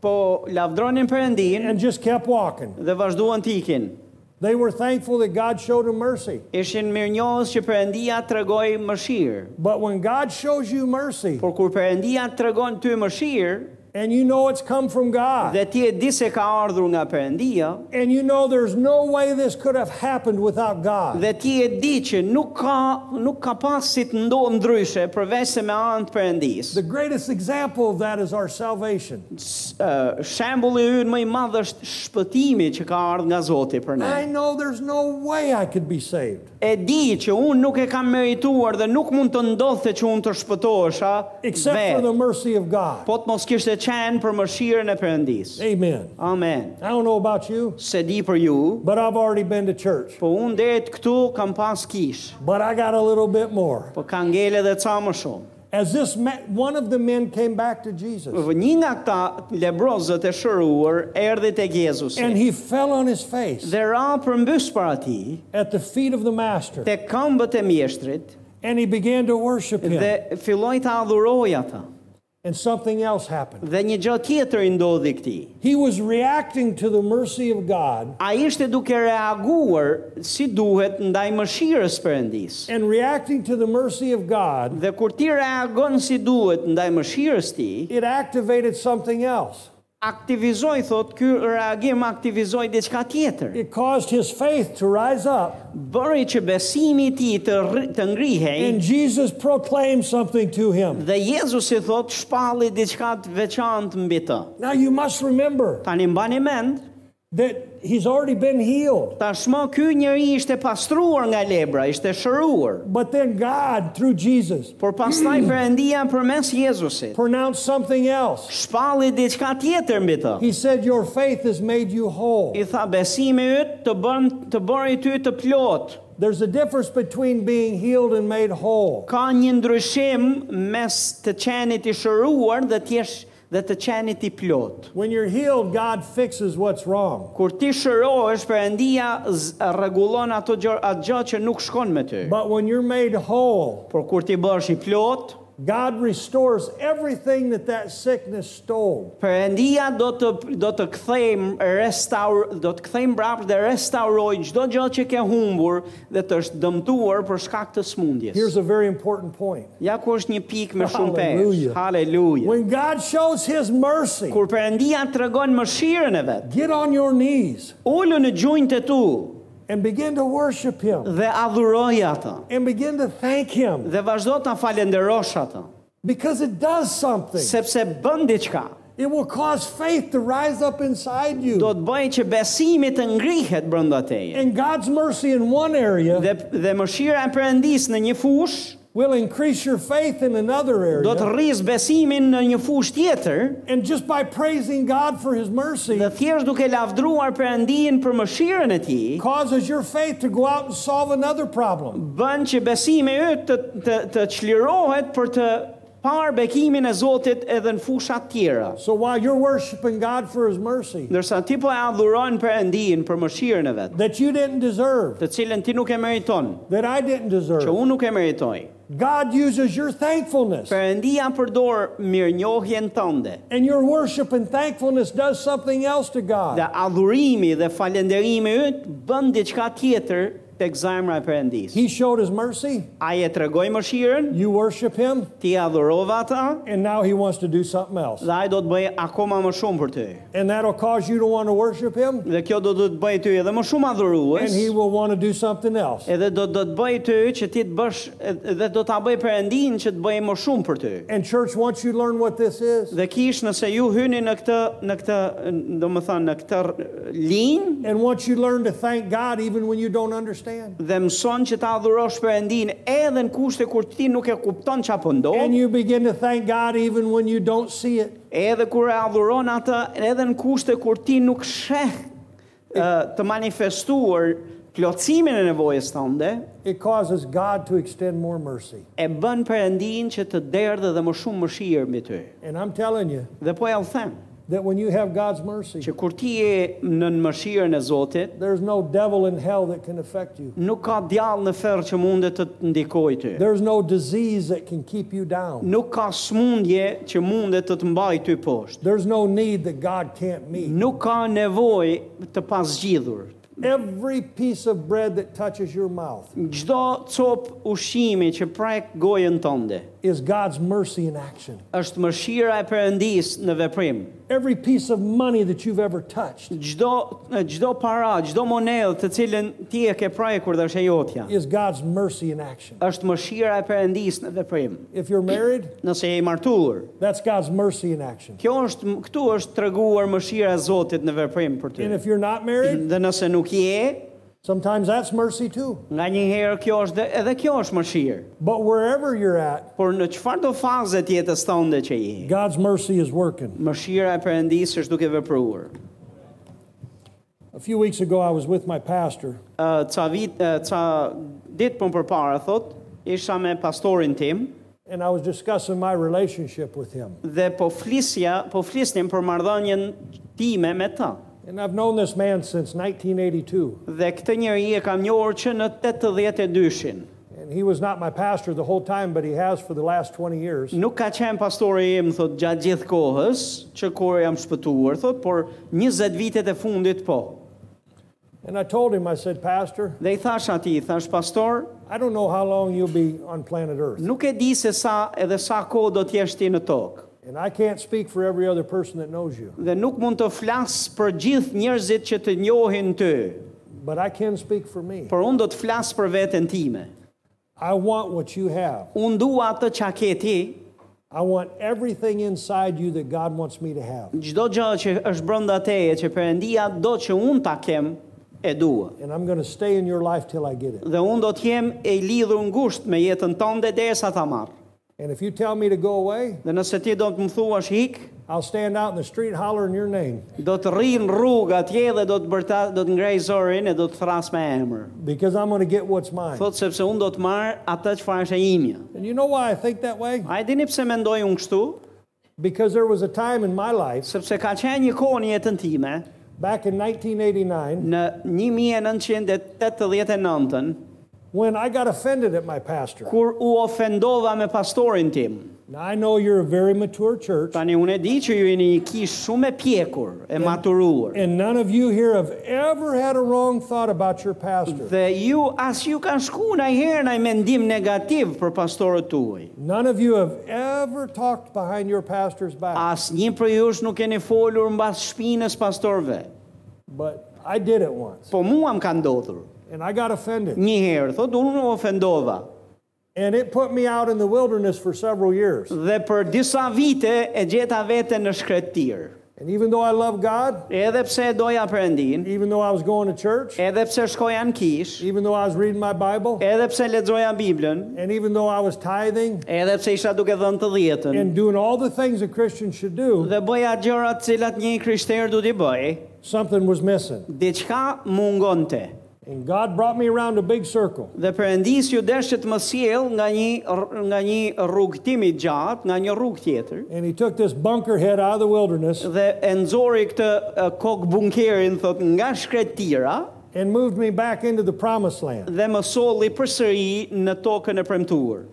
Speaker 2: po lavdronin Perëndin
Speaker 1: and just kept walking.
Speaker 2: dhe vazhduan të ikin.
Speaker 1: They were thankful that God showed them mercy.
Speaker 2: Ishin mirënjohës që Perëndia tregoi mëshirë.
Speaker 1: But when God shows you mercy
Speaker 2: Por kur Perëndia tregon ty mëshirë,
Speaker 1: and you know it's come from God.
Speaker 2: Dhe ti e di se ka ardhur nga Perëndia,
Speaker 1: And you know there's no way this could have happened without God.
Speaker 2: dhe ti e di që nuk ka nuk ka pas si të ndohë ndryshe përveç se me anë të Perëndis.
Speaker 1: The greatest example of that is our salvation.
Speaker 2: S- ë, Shembulli ynë më i madh është shpëtimi që ka ardhur nga Zoti për ne.
Speaker 1: I know there's no way I could be saved
Speaker 2: E di që unë nuk e kam merituar dhe nuk mund të ndodhte që unë të shpëtohesha
Speaker 1: except for
Speaker 2: vetë,
Speaker 1: the mercy of God.
Speaker 2: po të mos kishte qenë për mëshirën e Perëndis.
Speaker 1: Amen.
Speaker 2: Amen.
Speaker 1: I don't know about you,
Speaker 2: Se di për ju,
Speaker 1: but I've already been to church.
Speaker 2: po unë deri të këtu kam pas kish,
Speaker 1: But I got a little bit more.
Speaker 2: po ka ngele dhe ca më shumë.
Speaker 1: As this ma- one of the men came back to Jesus
Speaker 2: Një nga këta lebrozët e shëruar erdhi tek Jezusi
Speaker 1: and he fell on his face
Speaker 2: dhe ra përmbys para tij
Speaker 1: at the feet of the master
Speaker 2: tek këmbët e mjeshtrit
Speaker 1: and he began to worship
Speaker 2: dhe
Speaker 1: him.
Speaker 2: filloi ta adhuroi ata.
Speaker 1: And something else happened.
Speaker 2: Dhe një gjë tjetër i ndodhi këtij.
Speaker 1: He was reacting to the mercy of God
Speaker 2: A ishte duke reaguar si duhet ndaj mëshirës Perëndis.
Speaker 1: and reacting to the mercy of God,
Speaker 2: Dhe kur ti reagon si duhet ndaj mëshirës ti,
Speaker 1: it activated something else.
Speaker 2: aktivizoi thot ky reagim aktivizoi diçka tjetër.
Speaker 1: It caused his faith to rise up
Speaker 2: Bëri që besimi i tij të rri- të ngrihej
Speaker 1: and Jesus proclaimed something to him.
Speaker 2: Dhe Jezusi thot shpalli diçka të veçantë mbi të.
Speaker 1: Now you must remember
Speaker 2: Tani mbani mend,
Speaker 1: that he's already been healed.
Speaker 2: tashmë ky njeri ishte pastruar nga lebra, ishte shëruar.
Speaker 1: But then God, through Jesus,
Speaker 2: Por pastaj Perëndia përmes Jezusit
Speaker 1: pronounced something else.
Speaker 2: shpalli diçka tjetër mbi të.
Speaker 1: He said, Your faith has made you whole.
Speaker 2: I tha besimi yt të bën të bëri ty të plot.
Speaker 1: There's a difference between being healed and made whole.
Speaker 2: Ka një ndryshim mes të qenit i shëruar dhe të jesh dhe të qenit i plot.
Speaker 1: When you're healed, God fixes what's wrong.
Speaker 2: Kur ti shërohesh, Perëndia z- rregullon ato gjë atë gjë që nuk shkon me ty.
Speaker 1: But when you're made whole,
Speaker 2: Por kur ti bësh i plot,
Speaker 1: God restores everything that that sickness stole.
Speaker 2: Perëndia do të do të kthejmë restaur do të kthejmë mbrapsht dhe restauroj çdo gjë që ke humbur dhe të është dëmtuar për shkak të smundjes.
Speaker 1: Here's a very important point.
Speaker 2: ja ku është një pikë më shumë peshë.
Speaker 1: Hallelujah.
Speaker 2: Haleluja.
Speaker 1: When God shows His mercy,
Speaker 2: Kur Perëndia tregon mëshirën e vet,
Speaker 1: get on your knees
Speaker 2: ulu në gjunjët e tu
Speaker 1: and begin to worship Him
Speaker 2: dhe adhuroj atë
Speaker 1: and begin to thank Him
Speaker 2: dhe vazhdo ta falenderosh atë,
Speaker 1: because it does something.
Speaker 2: sepse bën diçka.
Speaker 1: It will cause faith to rise up inside
Speaker 2: Do
Speaker 1: you.
Speaker 2: të bëj që besimi të ngrihet brenda teje.
Speaker 1: And God's mercy in one area
Speaker 2: Dhe dhe mëshira e Perëndis në një fushë
Speaker 1: will increase your faith in another
Speaker 2: do të
Speaker 1: area.
Speaker 2: rris besimin në një fushë tjetër
Speaker 1: And just by praising God for His mercy,
Speaker 2: dhe thjesht duke lavdruar Perëndin për mëshirën e tij,
Speaker 1: causes your faith to go out and solve another problem.
Speaker 2: bën që besimi yt të të të çlirohet për të parë bekimin e Zotit edhe në fusha të tjera.
Speaker 1: So while you're worshiping God for His mercy
Speaker 2: Ndërsa ti po e adhuron Perëndin për mëshirën e vet,
Speaker 1: that you didn't deserve,
Speaker 2: të cilën ti nuk e meriton,
Speaker 1: that I didn't
Speaker 2: që
Speaker 1: deserve,
Speaker 2: unë nuk e meritoj.
Speaker 1: God uses your thankfulness.
Speaker 2: Perëndia përdor mirënjohjen tënde.
Speaker 1: And your worship and thankfulness does something else to
Speaker 2: Dhe
Speaker 1: God.
Speaker 2: adhurimi dhe falënderimi yt bën diçka tjetër tek zemra e Perëndis.
Speaker 1: He showed His mercy,
Speaker 2: Ai e tregoi mëshirën,
Speaker 1: you worship Him,
Speaker 2: ti adhurova ata
Speaker 1: and now He wants to do something else.
Speaker 2: dhe ai do të bëjë akoma më shumë për ty.
Speaker 1: And that'll cause you to want to worship him,
Speaker 2: Dhe kjo do të të bëjë ty edhe më shumë
Speaker 1: and
Speaker 2: adhurues.
Speaker 1: he will want to do something else.
Speaker 2: Edhe do do të bëjë ty që ti të bësh edhe do ta bëj Perëndin që të bëjë më shumë për ty.
Speaker 1: And church, once you learn what this is,
Speaker 2: Dhe kish nëse ju hyni në këtë në këtë domethënë në këtë r- linjë
Speaker 1: and once you learn to thank God even when you don't understand,
Speaker 2: dhe mëson që ta adhurosh Perëndin edhe në kushte kur ti nuk e kupton çfarë po ndodh,
Speaker 1: and you begin to thank God even when you don't see it,
Speaker 2: edhe kur e adhuron atë edhe në kushte kur ti nuk sheh ë, të manifestuar plotësimin e nevojës tënde,
Speaker 1: it causes God to extend more mercy.
Speaker 2: e bën Perëndin që të derdhë dhe më shumë mëshirë mbi ty.
Speaker 1: And I'm telling you
Speaker 2: Dhe po ja u them
Speaker 1: that when you have God's mercy,
Speaker 2: që kur ti je në në mëshirën e Zotit,
Speaker 1: there's no devil in hell that can affect you.
Speaker 2: nuk ka djallë në ferë që mundet të të ndikoj ty.
Speaker 1: There's no disease that can keep you down.
Speaker 2: Nuk ka smundje që mundet të të mbaj ty poshtë.
Speaker 1: There's no need that God can't meet.
Speaker 2: Nuk ka nevoj të pasgjidhur
Speaker 1: Every piece of bread that touches your mouth
Speaker 2: Çdo cop ushqimi që prek gojën tënde
Speaker 1: is God's mercy in action.
Speaker 2: është mëshira e Perëndis në veprim.
Speaker 1: Every piece of money that you've ever touched
Speaker 2: Çdo çdo para, çdo monedhë të cilën ti e ke prekur dhe është e jotja,
Speaker 1: is God's mercy in action.
Speaker 2: është mëshira e Perëndis në veprim.
Speaker 1: If you're married,
Speaker 2: Nëse je i martuar,
Speaker 1: that's God's mercy in action.
Speaker 2: kjo është këtu është treguar mëshira e Zotit në veprim për ty.
Speaker 1: And if you're not married,
Speaker 2: Dhe nëse nuk je,
Speaker 1: sometimes that's mercy too.
Speaker 2: nga një herë kjo është dhe- edhe kjo është mëshirë.
Speaker 1: But wherever you're at,
Speaker 2: Por në çfarë do faze të jetës tënde që je?
Speaker 1: God's mercy is working.
Speaker 2: Mëshira e Perëndisë është duke vepruar.
Speaker 1: A few weeks ago, I was with my pastor,
Speaker 2: Ë, ca vit, ë, ca ditë më përpara thot, isha me pastorin tim
Speaker 1: and I was discussing my relationship with him.
Speaker 2: dhe po flisja, po flisnim për marrëdhënien time me ta.
Speaker 1: And I've known this man since 1982.
Speaker 2: Dhe këtë njeri e kam njohur që në 82-shin.
Speaker 1: And he was not my pastor the whole time, but he has for the last 20 years.
Speaker 2: Nuk ka qenë pastori im thot gjatë gjithë kohës që kur jam shpëtuar thot, por 20 vitet e fundit po.
Speaker 1: And I told him, I said, Pastor,
Speaker 2: Dhe i thash atij, i thash pastor,
Speaker 1: I don't know how long you'll be on planet Earth.
Speaker 2: nuk e di se sa edhe sa kohë do të jesh ti në tokë.
Speaker 1: And I can't speak for every other person that knows you,
Speaker 2: dhe nuk mund të flas për gjithë njerëzit që të njohin ty,
Speaker 1: but I can speak for me.
Speaker 2: por unë do të flas për veten time.
Speaker 1: I want what you have.
Speaker 2: Unë dua atë që ke ti,
Speaker 1: I want everything inside you that God wants me to have.
Speaker 2: çdo gjë që është brenda teje që Perëndia do që unë ta kem, e dua.
Speaker 1: And I'm going to stay in your life till I get it.
Speaker 2: Dhe unë do të jem e lidhur ngushtë me jetën tënde derisa ta marr.
Speaker 1: And if you tell me to go away,
Speaker 2: Dhe nëse ti do të më thuash hik,
Speaker 1: I'll stand out in the street hollering your name
Speaker 2: do të rri në rrugë atje dhe do të bërta, do të ngrej zërin e do të thras me emër.
Speaker 1: because I'm going to get what's mine.
Speaker 2: Thot sepse unë do të marr atë çfarë është e imja.
Speaker 1: And you know why I think that way?
Speaker 2: A e dini pse mendoj unë kështu?
Speaker 1: Because there was a time in my life,
Speaker 2: sepse ka qenë një kohë në jetën time,
Speaker 1: back in 1989,
Speaker 2: në 1989-ën,
Speaker 1: when I got offended at my pastor.
Speaker 2: kur u ofendova me pastorin tim.
Speaker 1: Now, I know you're a very mature church,
Speaker 2: Tani unë e di që ju jeni një kishë shumë e pjekur, e maturuar.
Speaker 1: and none of you here have ever had a wrong thought about your pastor.
Speaker 2: Dhe ju, as ju kanë shku në herë në mendim negativ për pastorët tuaj.
Speaker 1: None of you have ever talked behind your pastor's back,
Speaker 2: As një për jush nuk keni folur mbas shpinës pastorve.
Speaker 1: but I did it once,
Speaker 2: Po mua më ka ndodhur.
Speaker 1: and I got offended.
Speaker 2: Një herë, thot, unë u ofendova.
Speaker 1: And it put me out in the wilderness for several years.
Speaker 2: Dhe për disa vite e gjeta vete në shkretirë.
Speaker 1: And even though I love God,
Speaker 2: Edhe pse e doja përëndin,
Speaker 1: even though I was going to church,
Speaker 2: edhe pse shkoja në kish,
Speaker 1: even though I was reading my Bible,
Speaker 2: edhe pse lexoja Biblën,
Speaker 1: and even though I was tithing
Speaker 2: edhe pse isha duke dhënë të dhjetën,
Speaker 1: and doing all the things a Christian should do,
Speaker 2: dhe bëja gjëra të cilat një krishter du t'i bëj,
Speaker 1: something was missing.
Speaker 2: diçka mungonte.
Speaker 1: And God brought me around a big circle.
Speaker 2: Dhe Perëndis ju desh që të më sjell nga një rr- nga një rrugtim i gjatë, nga një rrugë tjetër,
Speaker 1: And he took this bunker head out of the wilderness
Speaker 2: dhe e nxori këtë e, kok bunkerin thot nga shkretira
Speaker 1: and moved me back into the promised land.
Speaker 2: dhe më solli përsëri në tokën e premtuar.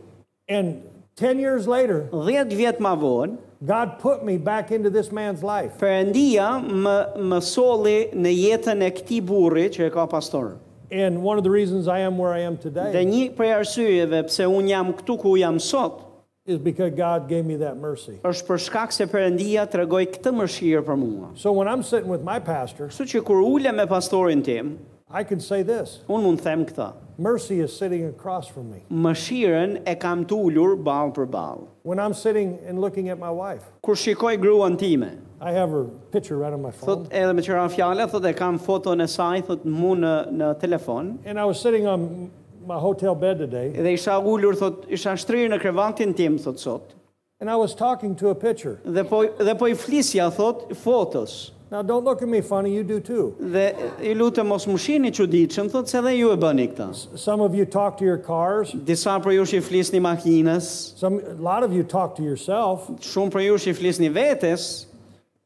Speaker 1: And 10 years later,
Speaker 2: 10 vjet më vonë,
Speaker 1: God put me back into this man's life.
Speaker 2: Perëndia më më solli në jetën e këtij burri që e ka pastor.
Speaker 1: And one of the reasons I am where I am
Speaker 2: Dhe
Speaker 1: today
Speaker 2: një prej arsyeve pse un jam këtu ku jam sot
Speaker 1: is because God gave me that mercy.
Speaker 2: është për shkak se Perëndia tregoi këtë mëshirë për mua.
Speaker 1: So when I'm sitting with my pastor,
Speaker 2: Kështu që kur ulem me pastorin tim,
Speaker 1: I can say this
Speaker 2: un mund të them këtë.
Speaker 1: mercy is sitting across from me.
Speaker 2: Mëshirën e kam tulur ball për ball.
Speaker 1: When I'm sitting and looking at my wife,
Speaker 2: Kur shikoj gruan time,
Speaker 1: I have her picture right on my phone.
Speaker 2: thot edhe me qëra fjala, thot e kam foton e saj, thot mu në, në telefon,
Speaker 1: And I was sitting on my hotel bed today,
Speaker 2: dhe isha ulur, thot isha shtrirë në krevatin tim, thot sot.
Speaker 1: and I was talking to a picture.
Speaker 2: Dhe po, dhe po i flisja, thot, fotos.
Speaker 1: Now, don't look at me funny, you do too.
Speaker 2: Dhe i lutem mos më shihni çuditshëm, thot se edhe ju e bëni këtë.
Speaker 1: Some of you talk to your cars,
Speaker 2: Disa prej jush i flisni makinës,
Speaker 1: some, a lot of you talk to yourself.
Speaker 2: shumë prej jush i flisni vetes,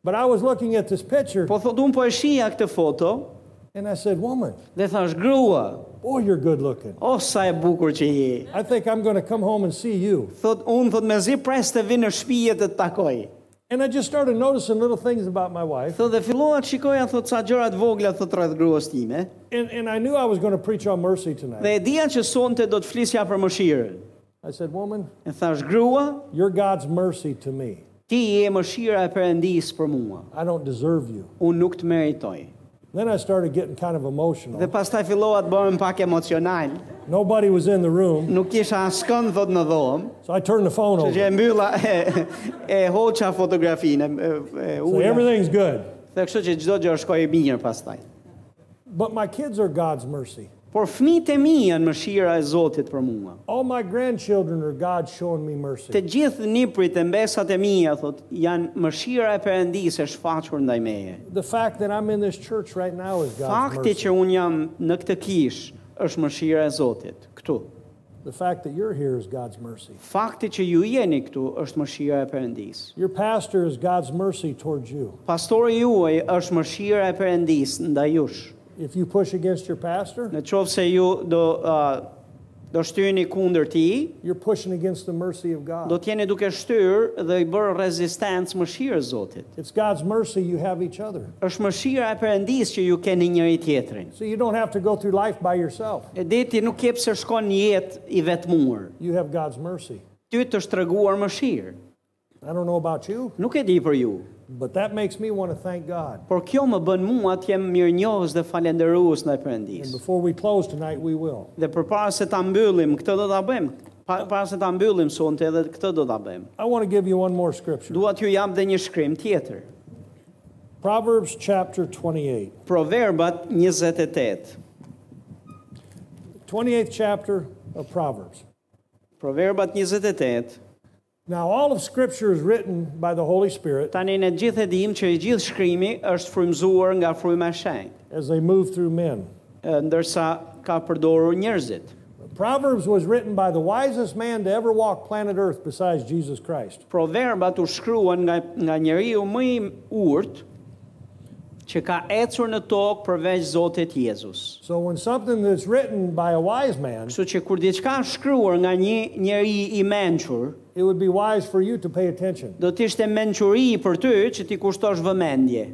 Speaker 1: But I was looking at this picture,
Speaker 2: po thot unë po e shija këtë foto
Speaker 1: and I said, Woman,
Speaker 2: dhe thash grua,
Speaker 1: boy, you're good looking.
Speaker 2: o sa e bukur që je.
Speaker 1: I think I'm going to come home and see you.
Speaker 2: Thot unë thot mezi pres të vi në shtëpi e të të takoj.
Speaker 1: And I just started noticing little things about my wife.
Speaker 2: Thot dhe fillova të shikoja thot sa gjëra të vogla thot rreth gruas time
Speaker 1: And, and I knew I was going to preach on mercy tonight.
Speaker 2: dhe e dija që sonte do të flisja për mëshirën.
Speaker 1: I said, Woman,
Speaker 2: E thash grua,
Speaker 1: you're God's mercy to me.
Speaker 2: ti je mëshira e Perëndis për mua.
Speaker 1: I don't deserve you.
Speaker 2: Unë nuk të meritoj.
Speaker 1: Then I started getting kind of
Speaker 2: Dhe
Speaker 1: emotional.
Speaker 2: pastaj fillova të bëhem pak emocional.
Speaker 1: Nobody was in the room,
Speaker 2: Nuk kisha askënd thot në dhomë,
Speaker 1: so I turned the phone
Speaker 2: që
Speaker 1: over.
Speaker 2: e mbylla e, e hoqa fotografinë, e, e
Speaker 1: So
Speaker 2: ulla.
Speaker 1: everything's good.
Speaker 2: Dhe kështu që çdo gjë shkoi mirë pastaj.
Speaker 1: But my kids are God's mercy.
Speaker 2: Por fëmijët e mi janë mëshira e Zotit për mua.
Speaker 1: All my grandchildren are God showing me
Speaker 2: Të
Speaker 1: mercy.
Speaker 2: gjithë niprit e mbesat e mia, thot, janë mëshira e Perëndisë e shfaqur ndaj meje.
Speaker 1: The fact that I'm in this church right now is God's
Speaker 2: Fakti
Speaker 1: mercy.
Speaker 2: që un jam në këtë kish është mëshira e Zotit. Ktu.
Speaker 1: The fact that you're here is God's mercy.
Speaker 2: Fakti që ju jeni këtu është mëshira e Perëndisë.
Speaker 1: Your pastor is God's mercy towards you.
Speaker 2: Pastori juaj është mëshira e Perëndisë ndaj jush.
Speaker 1: If you push against your pastor,
Speaker 2: Në qovë se ju do, uh, do shtyni kundër ti,
Speaker 1: you're pushing against the mercy of
Speaker 2: do
Speaker 1: God.
Speaker 2: t'jeni duke shtyrë dhe i bërë rezistencë mëshirë Zotit.
Speaker 1: It's God's mercy you have each other.
Speaker 2: është mëshira e Perëndisë që ju keni njëri tjetrin.
Speaker 1: So you don't have to go through life by yourself.
Speaker 2: E deti nuk jep se shkon një jetë i vetmuar.
Speaker 1: You have God's mercy.
Speaker 2: Ty të shtreguar mëshirë.
Speaker 1: I don't know about you,
Speaker 2: Nuk e di për ju,
Speaker 1: but that makes me want to thank God.
Speaker 2: por kjo më bën mua të jem mirënjohës dhe falendërues
Speaker 1: And
Speaker 2: ndaj Perëndisë.
Speaker 1: before we close tonight, we will.
Speaker 2: Dhe përpara se ta mbyllim, këtë do ta bëjmë. Pa- Para se ta mbyllim sonte edhe këtë do ta bëjmë.
Speaker 1: I want to give you one more scripture
Speaker 2: Dua t'ju jap dhe një shkrim tjetër.
Speaker 1: Proverbs chapter 28.
Speaker 2: Proverbat 28.
Speaker 1: 28th chapter of Proverbs.
Speaker 2: Proverbat 28.
Speaker 1: Now, all of Scripture is written by the Holy Spirit
Speaker 2: Tani ne gjithë e dim që i gjithë shkrimi është frymzuar nga fryma e shenjtë.
Speaker 1: as they move through men.
Speaker 2: e, ndërsa ka përdorur njerëzit.
Speaker 1: Proverbs was written by the wisest man to ever walk planet Earth besides Jesus Christ.
Speaker 2: Proverbat u shkruan nga, nga njeriu më i urt që ka ecur në tokë përveç Zotit Jezus.
Speaker 1: So, when something that's written by a wise man,
Speaker 2: Kështu që kur diçka është shkruar nga një njeri i mençur,
Speaker 1: it would be wise for you to pay attention.
Speaker 2: do të ishte mençuri për ty që ti kushtosh vëmendje.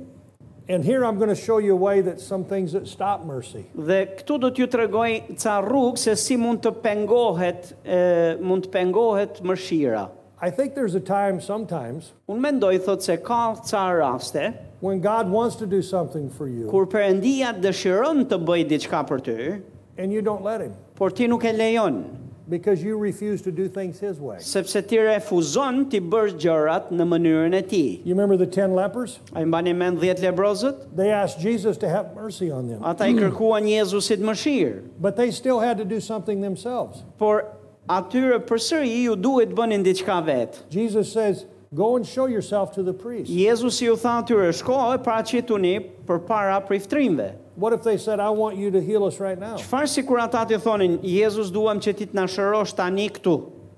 Speaker 1: And here I'm going to show you a way that some things that stop mercy.
Speaker 2: Dhe këtu do t'ju tregoj ca rrugë se si mund të pengohet, e, mund të pengohet mëshira.
Speaker 1: I think there's a time sometimes
Speaker 2: Unë mendoj thot se ka ca raste
Speaker 1: when God wants to do something for you
Speaker 2: kur Perëndia dëshiron të bëjë diçka për ty,
Speaker 1: and you don't let Him
Speaker 2: por ti nuk e lejon,
Speaker 1: because you refuse to do things His way.
Speaker 2: sepse ti refuzon ti bësh gjërat në mënyrën e ti.
Speaker 1: You remember the 10 lepers?
Speaker 2: A i mbani mend 10 lebrozët?
Speaker 1: They asked Jesus to have mercy on them,
Speaker 2: Ata i kërkuan Jezusit mëshirë,
Speaker 1: but they still had to do something themselves.
Speaker 2: por atyre përsëri ju duhet bënin diçka vetë.
Speaker 1: Jesus says, Go and show yourself to the priest.
Speaker 2: Jezusi ju tha atyre shko e paraqituni përpara priftrimve.
Speaker 1: What if they said, I want you to heal us right now?
Speaker 2: Çfarë si kur ata ti thonin, Jezus duam që ti të na shërosh tani këtu.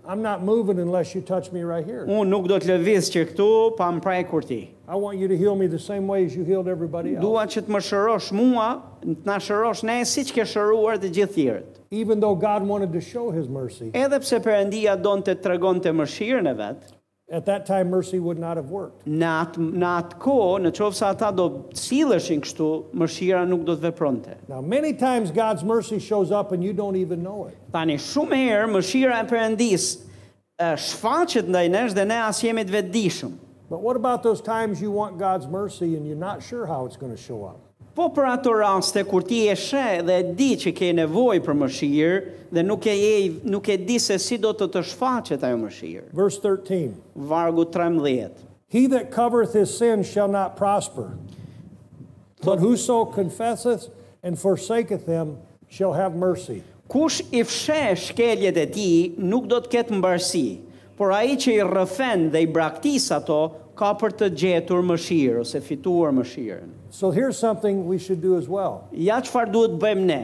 Speaker 1: I'm not moving unless you touch me right here.
Speaker 2: Unë nuk do të lëviz që këtu pa më prekur ti.
Speaker 1: I want you to heal me the same way as you healed everybody else.
Speaker 2: Dua që të më shërosh mua, të na shërosh ne siç ke shëruar të gjithë tjerët.
Speaker 1: Even though God wanted to show his mercy,
Speaker 2: Edhe pse Perëndia donte të tregon të mëshirën e vet,
Speaker 1: at that time mercy would not have worked.
Speaker 2: në atë në atë kohë, në qovë sa ata do silleshin kështu, mëshira nuk do të vepronte.
Speaker 1: Now, many times God's mercy shows up and you don't even know it.
Speaker 2: Tani shumë herë mëshira e Perëndisë e, shfaqet ndaj nesh dhe ne as jemi të vetëdijshëm.
Speaker 1: But what about those times you want God's mercy and you're not sure how it's going to show up?
Speaker 2: Po për ato raste kur ti e sheh dhe e di që ke nevojë për mëshirë dhe nuk e je, nuk e di se si do të të shfaqet ajo mëshirë.
Speaker 1: Verse 13
Speaker 2: Vargu 13.
Speaker 1: He that covereth his sin shall not prosper, but whoso confesseth and forsaketh them shall have mercy.
Speaker 2: Kush i fshe shkeljet e ti nuk do të ketë mbarësi, por ai që i rrëfen dhe i braktis ato ka për të gjetur mëshirë ose fituar mëshirën.
Speaker 1: So here's something we should do as well,
Speaker 2: Ja çfarë duhet bëjmë ne?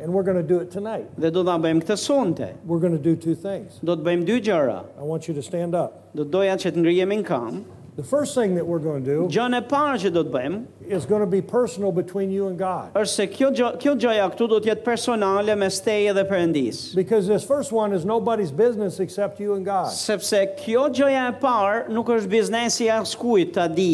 Speaker 1: and we're going to do it tonight.
Speaker 2: Dhe do ta bëjmë këtë sonte.
Speaker 1: We're going to do two things.
Speaker 2: Do të bëjmë dy gjëra.
Speaker 1: I want you to stand up.
Speaker 2: Do doja që të ngrihemi në kam
Speaker 1: The first thing that we're going to do
Speaker 2: Gjën e parë që do të bëjmë
Speaker 1: is going to be personal between you and God.
Speaker 2: është se kjo gjë, kjo gjëja këtu do të jetë personale mes teje dhe Perëndis.
Speaker 1: Because this first one is nobody's business except you and God.
Speaker 2: Sepse kjo gjëja e parë nuk është biznesi i askujt ta di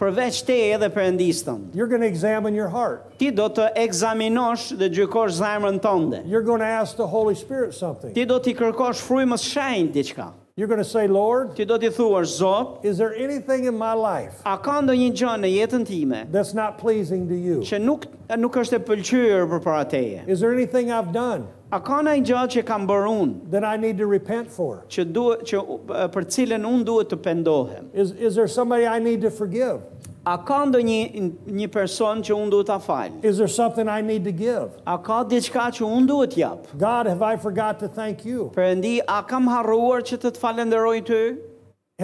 Speaker 2: përveç teje dhe Perëndis tënd.
Speaker 1: You're going to examine your heart.
Speaker 2: Ti do të ekzaminosh dhe gjykosh zemrën tënde.
Speaker 1: You're going to ask the Holy Spirit something.
Speaker 2: Ti do t'i kërkosh frymës shenjtë diçka.
Speaker 1: You're going to say, Lord,
Speaker 2: Ti do t'i thuash Zot,
Speaker 1: is there anything in my life
Speaker 2: a ka ndonjë gjë në jetën time
Speaker 1: that's not pleasing to you?
Speaker 2: që nuk nuk është e pëlqyer përpara teje?
Speaker 1: Is there anything I've done
Speaker 2: A ka ndonjë gjë që kam bërë unë
Speaker 1: that I need to repent for?
Speaker 2: që duhet që u- për cilën unë duhet të pendohem?
Speaker 1: Is, is there somebody I need to forgive?
Speaker 2: A ka ndonjë një person që unë duhet ta fal?
Speaker 1: Is there something I need to give?
Speaker 2: A ka diçka që unë duhet jap?
Speaker 1: God, have I forgot to thank you?
Speaker 2: Perëndi, a kam harruar që të të falenderoj ty?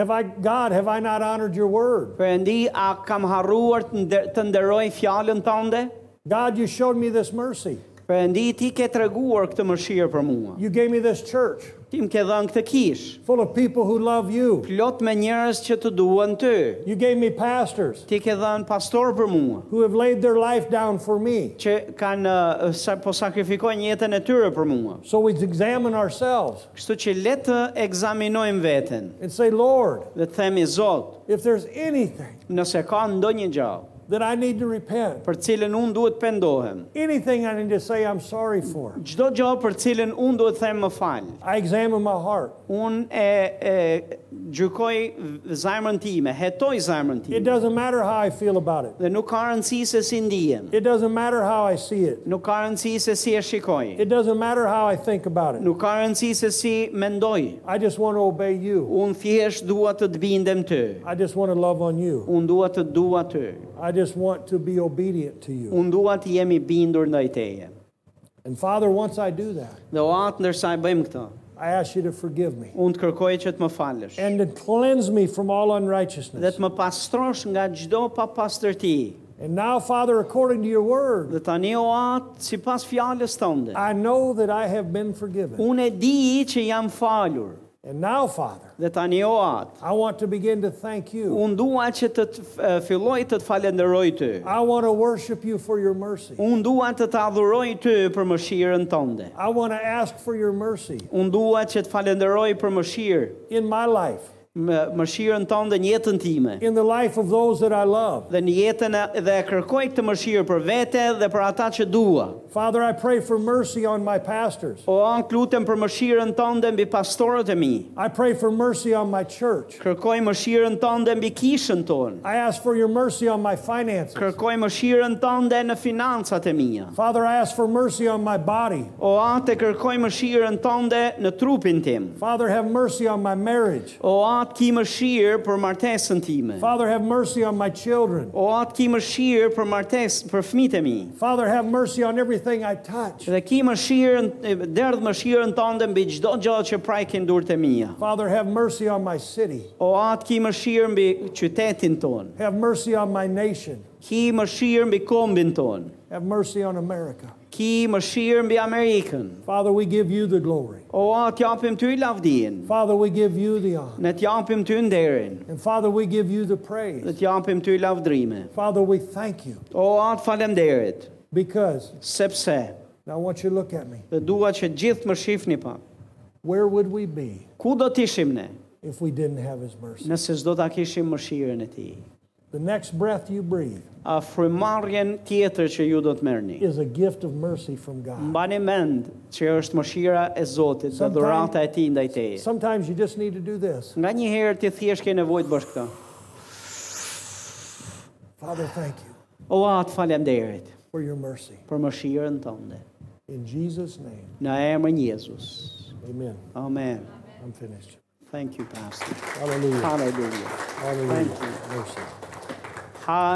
Speaker 1: Have I, God, have I not honored your word?
Speaker 2: Perëndi, a kam harruar të, nder- të nderoj fjalën tënde?
Speaker 1: God, you showed me this mercy.
Speaker 2: Perëndi, ti ke treguar këtë mëshirë për mua.
Speaker 1: You gave me this church
Speaker 2: Ti më ke dhënë këtë kish,
Speaker 1: full of people who love you.
Speaker 2: plot me njerëz që të duan ty.
Speaker 1: You gave me pastors
Speaker 2: Ti ke dhënë pastor për mua
Speaker 1: who have laid their life down for me.
Speaker 2: që kanë uh, sa, po sakrifikojnë jetën e tyre për mua.
Speaker 1: So we examine ourselves
Speaker 2: Kështu që le të ekzaminojmë veten
Speaker 1: and say, Lord,
Speaker 2: dhe të themi Zot,
Speaker 1: if there's anything
Speaker 2: nëse ka ndonjë gjë
Speaker 1: that I need to repent,
Speaker 2: për cilën unë duhet pendohem,
Speaker 1: anything I need to say I'm sorry for,
Speaker 2: çdo gjë për cilën unë duhet them më fal.
Speaker 1: I examine my heart.
Speaker 2: Unë e, e gjykoj zemrën time, hetoj zemrën
Speaker 1: It
Speaker 2: time.
Speaker 1: doesn't matter how I feel about it,
Speaker 2: Dhe nuk ka rëndësi se si ndihem.
Speaker 1: it doesn't matter how I see it,
Speaker 2: Nuk ka rëndësi se si e shikoj.
Speaker 1: it doesn't matter how I think about it.
Speaker 2: Nuk ka rëndësi se si mendoj.
Speaker 1: I just want to obey you.
Speaker 2: Unë thjesht dua të të bindem ty.
Speaker 1: I just want to love on you.
Speaker 2: Unë dua të dua ty.
Speaker 1: I just want to be obedient to you.
Speaker 2: Unë dua të jemi bindur ndaj teje.
Speaker 1: And Father, once I do that,
Speaker 2: Dhe o atë ndërsa e bëjmë këtë,
Speaker 1: I ask you to forgive me
Speaker 2: unë të kërkoj që të më falësh.
Speaker 1: and to cleanse me from all
Speaker 2: Dhe
Speaker 1: unrighteousness.
Speaker 2: të më pastrosh nga gjdo pa pastërti.
Speaker 1: And now, Father, according to your word,
Speaker 2: Dhe tani o atë, si pas fjales tënde,
Speaker 1: I know that I have been forgiven.
Speaker 2: unë e di që jam falur.
Speaker 1: And now, Father,
Speaker 2: Dhe tani o atë,
Speaker 1: I want to begin to thank you.
Speaker 2: unë dua që të, të e, filloj të të falenderoj ty.
Speaker 1: I want to worship you for your mercy.
Speaker 2: Unë dua të të adhuroj ty për mëshirën tënde.
Speaker 1: I want to ask for your mercy
Speaker 2: Unë dua që të falenderoj për mëshirë,
Speaker 1: in my life,
Speaker 2: më, mëshirën tënde në jetën time.
Speaker 1: in the life of those that I love.
Speaker 2: Dhe në jetën e, dhe e kërkoj këtë mëshirë për vete dhe për ata që dua.
Speaker 1: Father, I pray for mercy on my pastors.
Speaker 2: O anë lutem për mëshirën tënde mbi pastorët e mi.
Speaker 1: I pray for mercy on my church.
Speaker 2: Kërkoj mëshirën tënde mbi kishën tonë.
Speaker 1: I ask for your mercy on my finances.
Speaker 2: Kërkoj mëshirën tënde në financat e mia.
Speaker 1: Father, I ask for mercy on my body.
Speaker 2: O atë e kërkoj mëshirën tënde në trupin tim.
Speaker 1: Father, have mercy on my marriage.
Speaker 2: O atë ki mëshirë për martesën time.
Speaker 1: Father, have mercy on my children.
Speaker 2: O atë ki mëshirë për martes për fëmijët e mi.
Speaker 1: Father, have mercy on everything I touch.
Speaker 2: Dhe ki mëshirën, derdh mëshirën tënde mbi çdo gjë që prajkin durët e mia.
Speaker 1: Father, have mercy on my city.
Speaker 2: O atë ki mëshirë mbi qytetin ton.
Speaker 1: Have mercy on my nation.
Speaker 2: Ki mëshirë mbi kombin ton.
Speaker 1: Have mercy on America.
Speaker 2: Ki mëshirë mbi Amerikën.
Speaker 1: Father, we give you the glory.
Speaker 2: O atë japim ty lavdin.
Speaker 1: Father, we give you the honor.
Speaker 2: Ne t'japim ty nderin,
Speaker 1: And Father, we give you the
Speaker 2: dhe
Speaker 1: praise.
Speaker 2: t'japim ty lavdrime.
Speaker 1: Father, we thank you
Speaker 2: O atë falemderit,
Speaker 1: because,
Speaker 2: sepse
Speaker 1: now I want you to look at me.
Speaker 2: dhe dua që gjithë më shifni pa.
Speaker 1: Where would we be
Speaker 2: Ku do t'ishim ne,
Speaker 1: if we didn't have his mercy?
Speaker 2: nëse s'do t'a kishim mëshirën e ti?
Speaker 1: The next breath you breathe
Speaker 2: A frymarrjen tjetër që ju do t'merrni.
Speaker 1: is a gift of mercy from God.
Speaker 2: Mbani mend që është mëshira e Zotit dhe
Speaker 1: Sometime-
Speaker 2: dhurata e tij ndaj teje.
Speaker 1: Sometimes you just need to do this.
Speaker 2: Nga një herë ti thjesht ke nevojë të bësh këtë.
Speaker 1: Father, thank you
Speaker 2: O atë falemderit
Speaker 1: for your mercy.
Speaker 2: për mëshirën tënde.
Speaker 1: In Jesus' name,
Speaker 2: Në emrin Jezus.
Speaker 1: amen.
Speaker 2: Amen.
Speaker 1: I'm finished.
Speaker 2: Thank you, Pastor.
Speaker 1: Hallelujah.
Speaker 2: Hallelujah.
Speaker 1: Hallelujah.
Speaker 2: Thank
Speaker 1: Mercy.
Speaker 2: Ha